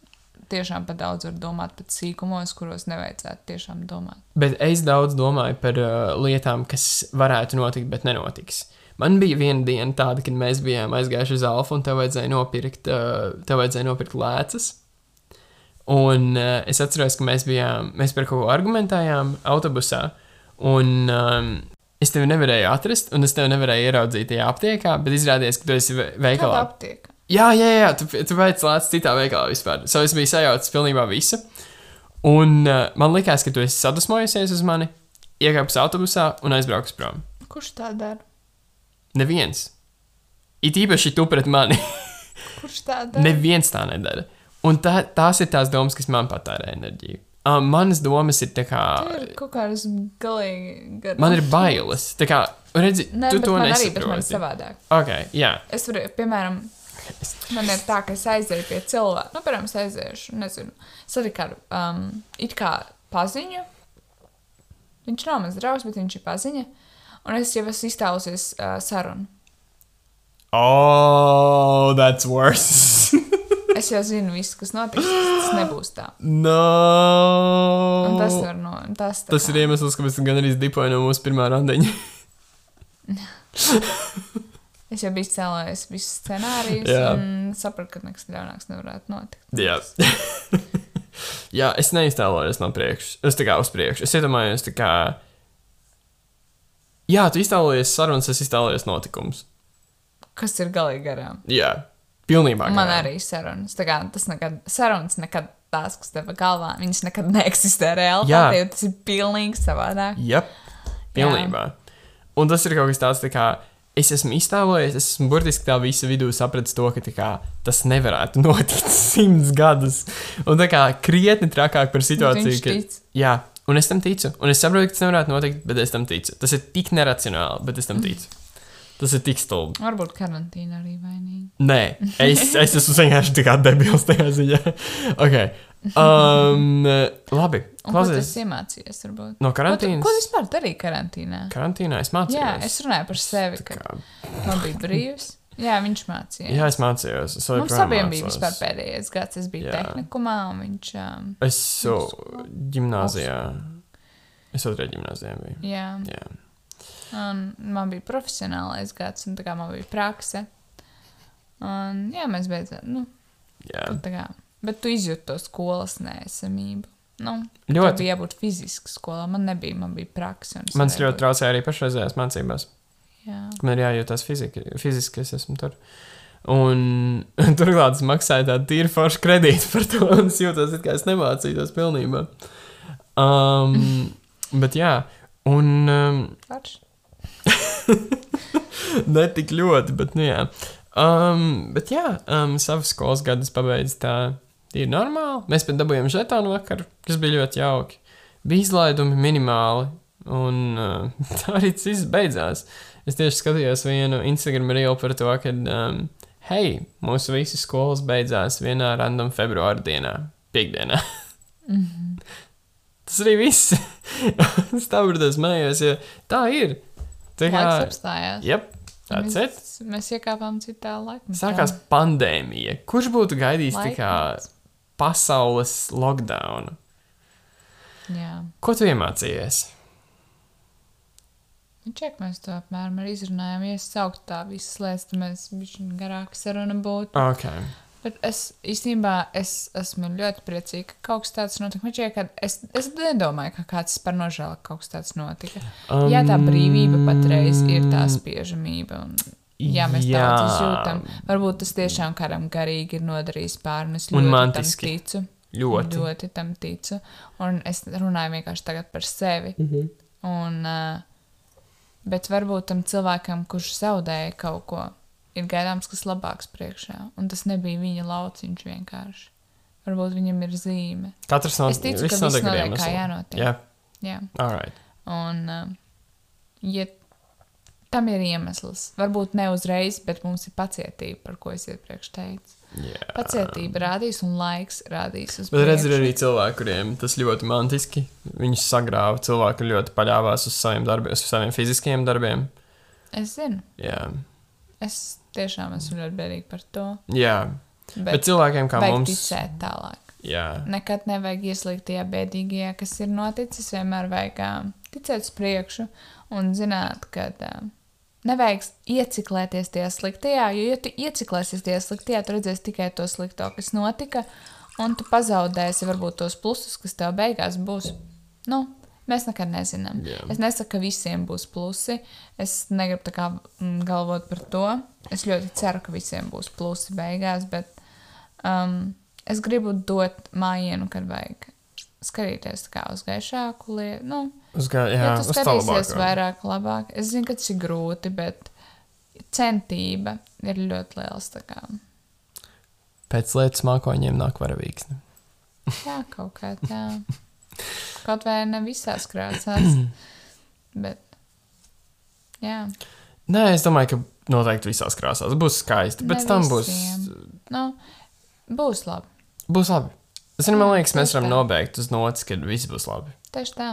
tiešām par daudz varu domāt pat sīkumos, kuros nevajadzētu tiešām domāt.
Bet es daudz domāju par uh, lietām, kas varētu notikt, bet nenotiks. Man bija viena diena tāda, kad mēs bijām aizgājuši uz Alfa un tev vajadzēja nopirkt, uh, tev vajadzēja nopirkt lēcas. Un uh, es atceros, ka mēs bijām, mēs par kaut ko argumentējām autobusā. Un um, es tevi nevarēju atrast, un es tevi nevarēju ieraudzīt tajā aptiekā, bet izrādījās, ka tu esi ve-
Kāda
veikalā.
aptiek?
Jā, jā, jā, tu, tu veic lētas citā veikalā vispār. So es biju sajaucis pilnībā visu. Un uh, man likās, ka tu esi sadusmojusies uz mani, iekāpis autobusā un aizbraucis prom.
Kurš tā dara?
Neviens. It īpaši tu pret mani.
Kurš tā dara?
Neviens tā nedara. Un tā, tās ir tās domas, kas man patērē enerģiju. Uh, manas domas ir tā kā.
Tu ir kaut kādas galīgi garas.
Man ir bailes. Tā kā, redzi,
Nē,
tu
bet
to
man arī, bet man ir
nesaproti.
savādāk.
Ok, jā.
Es varu, piemēram, man ir tā, ka es aizēju pie cilvēka. Nu, piemēram, es aizēju, nezinu, satiku ar um, it kā paziņu. Viņš nav mans draugs, bet viņš ir paziņa. Un es jau esmu iztēlusies uh, sarunu.
Oh, that's worse.
Es jau zinu, viss, kas notiks, tas nebūs tā.
no.
Un tas var no. Tas, tā
Tas
kā-
ir iemesls, kāpēc gan arī dipoju no mūsu pirmā randiņa.
Es jau biju izcēlējis visus scenārijus
Jā.
un sapratu, ka nekas ļaunāks nevarētu notikt.
Jā. Jā, es neiztēlojos no priekšas. Es tā kā uz priekšu. Es iedomājos, tā kā. Jā, tu iztēlojies sarunas, es iztēlojos notikumus.
Kas ir galīgi garām?
Jā. Pilnībā.
Man
garām.
arī sarunas. Tā kā, tas nekad, sarunas nekad tās, kas tev galvā, viņas nekad neeksistē realitātē,
Jā.
jo tas ir pilnīgi savādāk.
Jā, pilnībā. Un tas ir kaut kas tāds, tā kā es esmu iztēlojies, es esmu burtiski tā visa vidū sapratis to, ka tā kā, tas nevarētu notikt simts gadus. Un tā kā krietni trakāk par situāciju,
Nu, viņš tic.
Jā, un es tam ticu. Un es saprotu, ka tas nevarētu notikt, bet es tam ticu. Tas ir tik neracionāli, bet es tam ticu. Tas ir tik stulbi.
Varbūt karantīna arī vainīga.
Nē, es, es esmu vienkārši tā kā debils tajā ziņā. ok. Um, labi,
Un ko tu
klausies.
esi iemācījies? Varbūt?
No
Ko, tu,
karantīnas.
ko vispār darīja karantīnā?
Karantīnā es mācījos.
Jā, es runāju par sevi, ka
kā-
man bija brīvs. Jā, viņš mācījās.
Jā, es mācījos. Es
Mums
joprojām
abiem bija
mācos.
vispār pēdējais gads. Es biju
Jā.
tehnikumā, un viņš. Um,
Es esmu gimnājā. Es otrajā gimnājā biju.
jā,
Jā.
un man bija profesionālais gads, un tā kā man bija prakse. Un, jā, mēs beidzām. Nu,
Jā.
tā kā. Bet tu izjūti to skolas neesamību. Nu,
Ļoti.
Ļoti. bija jābūt fiziski skolā. Man nebija, man bija praksa. un es
Man tas
varēju
ļoti traucēja arī pašreizējās mācībās.
būt- Jā.
ka Man ir jājūtas fizika, fiziski, es esmu tur. Un turklāt es maksāju tādu tīru foršu kredītu par to, un es jūtos, it kā es nemācītos pilnībā. Um, bet jā, un um,
Varš?
ne tik ļoti, bet nu jā. Um, bet jā, um, savas skolas gadus pabeidzu tā, ir normāli. Mēs pat dabūjām žetonu vakar, kas bija ļoti jauki. Bija izlaidumi minimāli, un uh, tā arī viss beidzās. Es tieši skatījos vienu Instagram rīlu par to, ka, um, hei, mūsu visas skolas beidzās vienā random februāra dienā, piekdienā. Tas arī viss. es tā brīdī smējos, jo tā ir. Tā
Laiks apstājās.
Jep, tāds ir.
mēs, mēs iekāpām citā laikmetā.
Sākās pandēmija. Kurš būtu gaidījis tā kā
Laikmets.
pasaules lockdown?
Jā.
Ko tu iemācījies?
Nu, Ček, mēs to apmēram arī izrunājām. Ja es sauktu tā visas lietas, tad mēs bijām garāka saruna būtu.
Ok.
Bet es īstenībā es esmu ļoti priecīga, ka kaut kas tāds notika. Man šķiet, ka es, es nedomāju, ka kāds par nožēlu ka kaut kas tāds notika. Um, jā, tā brīvība patreiz ir tā spiežamība. Un... Jā, mēs
Mm.
jā.
jā.
daudz izjūtam. Varbūt tas tiešām kādam garīgi ir nodarījis pārnes.
Un
ļoti tam
mantiski.
ticu.
Ļoti.
ļoti tam ticu. Un es runāju vienkārši tagad par sevi. Mm
Mhm.
-hmm. un, uh, bet varbūt tam cilvēkam, kurš zaudēja kaut ko, ir gaidāms kas labāks priekšā. Un tas nebija viņa lauciņš vienkārši. Varbūt viņam ir zīme.
Katrs no
Es ticu, ka
viss
viss
notiek ar
notiek, kā
iemeslu.
jānotiek.
Jā,
Jā.
alright.
Un, uh, ja tam ir iemesls, varbūt ne uzreiz, bet mums ir pacietība, par ko es iepriekš teicu.
Jā.
Pacietība rādīs un laiks rādīs uz
Bet redz, ir
priekšu.
arī cilvēki, kuriem tas ļoti mantiski. Viņus sagrāva. Cilvēki ļoti paļāvās uz saviem darbiem, uz saviem fiziskiem darbiem.
Es zinu.
Jā.
Es tiešām esmu ļoti bēdīga par to.
Jā.
Bet,
Bet, Bet cilvēkiem kā
vajag
mums.
ticēt tālāk.
Jā.
Nekad nevajag ieslīgt tajā bēdīgajā, kas ir noticis. Vienmēr vajag ā, ticēt uz priekšu un zināt, ka eh, ā, nevajag ieciklēties tajā sliktajā, jo, ja tu ieciklēsies tajā sliktajā, tu redzēsi tikai to slikto, kas notika, un tu pazaudēsi varbūt tos plusus, kas tev beigās būs. Nu, mēs nekad nezinām.
Jā.
Es nesaku, ka visiem būs plusi. Es negribu tā kā mm, galvot par to. Es ļoti ceru, ka visiem būs plusi beigās, bet um, es gribu dot mājienu, kad vajag skatīties tā kā uz gaišāku lietu. Nu,
Uz kā, jā,
ja tu
uz tā labāk.
skatīsies vairāk, labāk. Es zinu, ka tas ir grūti, bet centība ir ļoti liels. tā kā.
Pēc lietas mākoņiem nāk varavīksne.
Jā, kaut kā tā. Kaut vai ne visās krāsās. Bet, jā.
Nē, es domāju, ka noteikti visās krāsās būs skaisti.
Ne
Pēc tam būs,
visiem. Nu, būs labi.
būs labi. Es domāju, man liekas, mēs
tieši
varam
tā.
nobeigt uz nots, kad viss būs labi.
Tieši tā.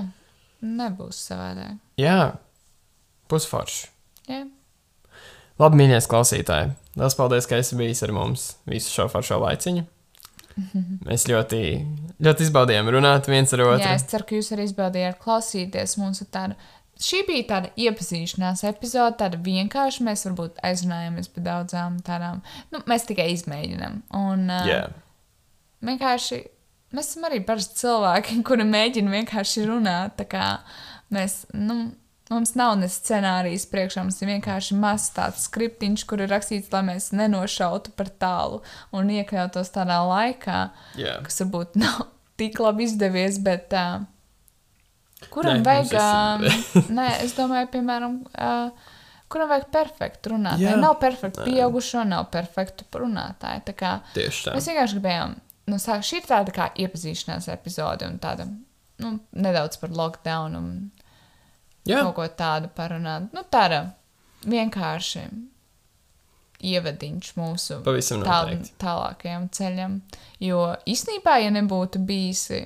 Nebūs savādāk.
Jā, būs forši.
Jā.
Labi, mīļie klausītāji, liels paldies, ka esi bijis ar mums visu šo foršo laiciņu. Mēs ļoti, ļoti izbaudījām runāt viens ar otru.
Jā, es ceru, ka jūs arī izbaudījāt klausīties mūsu tādu. Šī bija tāda iepazīšanās epizode, tāda vienkārša. Mēs varbūt aizrunājāmies par daudzām tādām. Nu, mēs tikai izmēģinām. Un uh,
Jā,
vienkārši mēs esam arī parasti cilvēki, kuri mēģina vienkārši runāt. Tā kā mēs, nu, Mums nav ne scenārijas priekšā, mums ir vienkārši mazs tāds skriptiņš, kur ir rakstīts, lai mēs nenošautu par tālu un iekļautos tādā laikā,
Jā.
kas varbūt nav tik labi izdevies, bet uh,
Nē,
kuram nē, vajag,
mums
uh, nē, es domāju, piemēram, uh, kuram vajag perfektu runātāju.
Jā.
Nav perfektu pieaugušo, nav perfektu runātāju. Tā kā
Tieši tā.
Mēs vienkārši gribējām, nu, sāk, šī ir tāda kā iepazīšanās epizode un tāda, nu, nedaudz par lockdown un
Jā,
kaut ko tādu parunāt. Nu, tāda vienkārši ievadiņš mūsu
Pavisam noteikti.
tālākajam ceļam. Jo īsnībā, ja nebūtu bijusi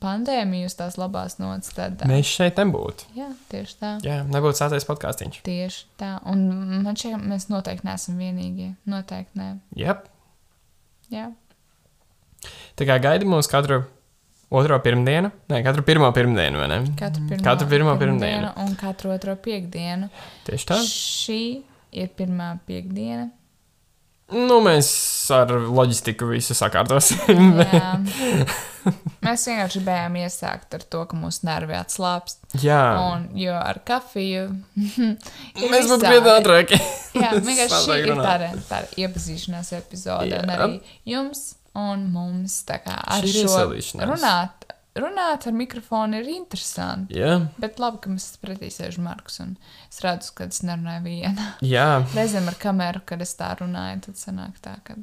pandēmijas tās labās nots, tad. ā,
mēs šeit nebūtu.
Jā, tieši tā.
Jā, nebūtu sācies podkāstīņš.
Tieši tā. Un man šķiet, ka mēs noteikti neesam vienīgie. Noteikti nē.
Jā.
Jā.
Tā kā gaida mūs katru otro pirmdienu, ne katru pirmo pirmdienu, vai ne?
Katru pirmo,
Mm. Katru pirmo pirmdienu.
un katru otro piekdienu.
Tieši tā.
Šī ir pirmā piekdiena.
Nu, mēs ar loģistiku visu sakārtosim.
Jā. Mēs vienkārši bijām iesākt ar to, ka mūsu nervi atslābst.
Jā,
Un, jo ar kafiju ir
Ah. mēs būtu
visādi.
krietni ātrāki.
Jā, vienkārši šī
Savādāk
ir
runāt.
tāda, tāda iepazīšanās epizode.
Jā.
Un arī jums un mums tā kā ar
Šī ir
šo
iesaistīšanās.
runāt, runāt ar mikrofonu ir interesanti.
Jā,
Bet labi, ka mēs pretī sēžam Markus un es redzu, ka es nerunāju viena.
jā,
Reizēm ar kameru, kad es tā runāju, tad sanāk tā, ka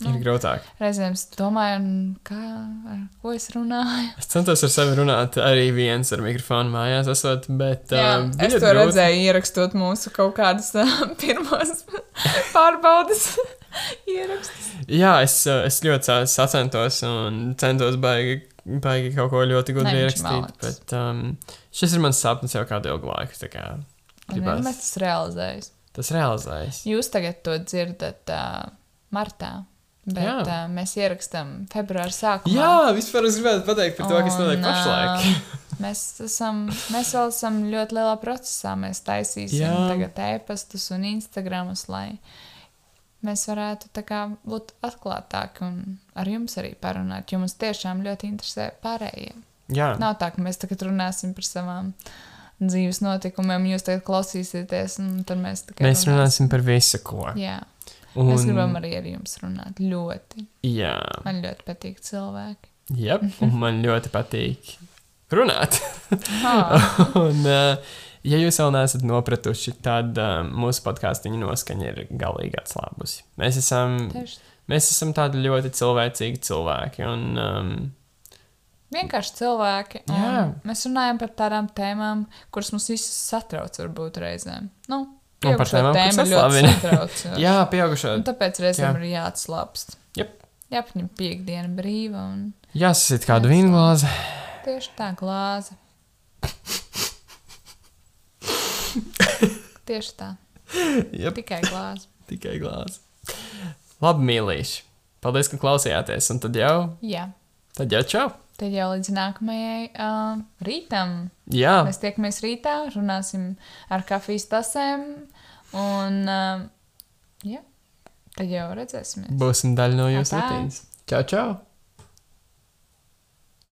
Nu.
ir grūtāk.
reizēm es domāju, "Un kā, ar ko es runāju.
Es centos ar sevi runāt arī viens ar mikrofonu mājās, esot, bet.
Jā,
ā,
es
bija
to
grūti.
redzēju, ierakstot mūsu kaut kādas pirmās pārbaudas ierakstus.
Jā, es, ā, es ļoti sa- sacentos un centos baigi, baigi kaut ko ļoti gudri
Nē, viņš
ierakstīt.
malacis.
Bet um, šis ir mans sapnis jau kādu ilgu laiku. tā kā
Un
gribas-
vienmēr nu, tas realizējas.
Tas realizējas.
Jūs tagad to dzirdat uh, martā,
Jā.
bet uh, mēs ierakstām februāra sākumā.
Jā, vispār es gribētu pateikt par to, kas
Un,
notiek pašlaik.
ā, Mēs, esam, mēs vēl esam ļoti lielā procesā. Mēs taisīsim Jā.
Jā.
tagad ēpastus un Instagramus, lai mēs varētu tā kā būt atklātāki un ar jums arī parunāt. Jo mums tiešām ļoti interesē pārējie.
Jā,
Nav tā, ka mēs tagad runāsim par savām dzīves notikumiem, jūs tagad klausīsieties, un tad mēs tikai
mēs runāsim par visu, ko.
Jā,
Un,
mēs gribam arī ar jums runāt. Ļoti.
Jā,
Man ļoti patīk cilvēki.
jep, un man ļoti patīk runāt.
Ha,
un, uh, ja jūs vēl neesat nopratuši, tad uh, mūsu podkāstu noskaņa ir galīgi atslābusi. Mēs esam,
tieši
mēs esam tādi ļoti cilvēcīgi cilvēki. Un, um,
Vienkārši cilvēki. un
Jā.
Mēs runājam par tādām tēmām, kuras mums visus satrauc, varbūt reizēm. Nu,
Un par
pieaugušo
tēmām, kuras
tēma ļoti
atslābina.
satrauc.
jā, pieaugušā.
Un tāpēc reizēm
Jā.
ir jāatslābst.
Jep.
Jāpaņem piekdiena brīva un
Jāsasit kādu vīnu glāzi.
tieši tā glāze. tieši tā,
Jep,
tikai glāze.
tikai glāzi. Labi, mīlīši. Paldies, ka klausījāties. Un tad jau,
Jā,
tad jau čau.
tad jau līdz nākamajai uh, rītam.
Jā,
Mēs tiekamies rītā, runāsim ar kafijas tasēm. Un, uh, jā, tad jau redzēsimies.
būsim daļa no jūsu
Atā.
rutīnas. Čau, čau!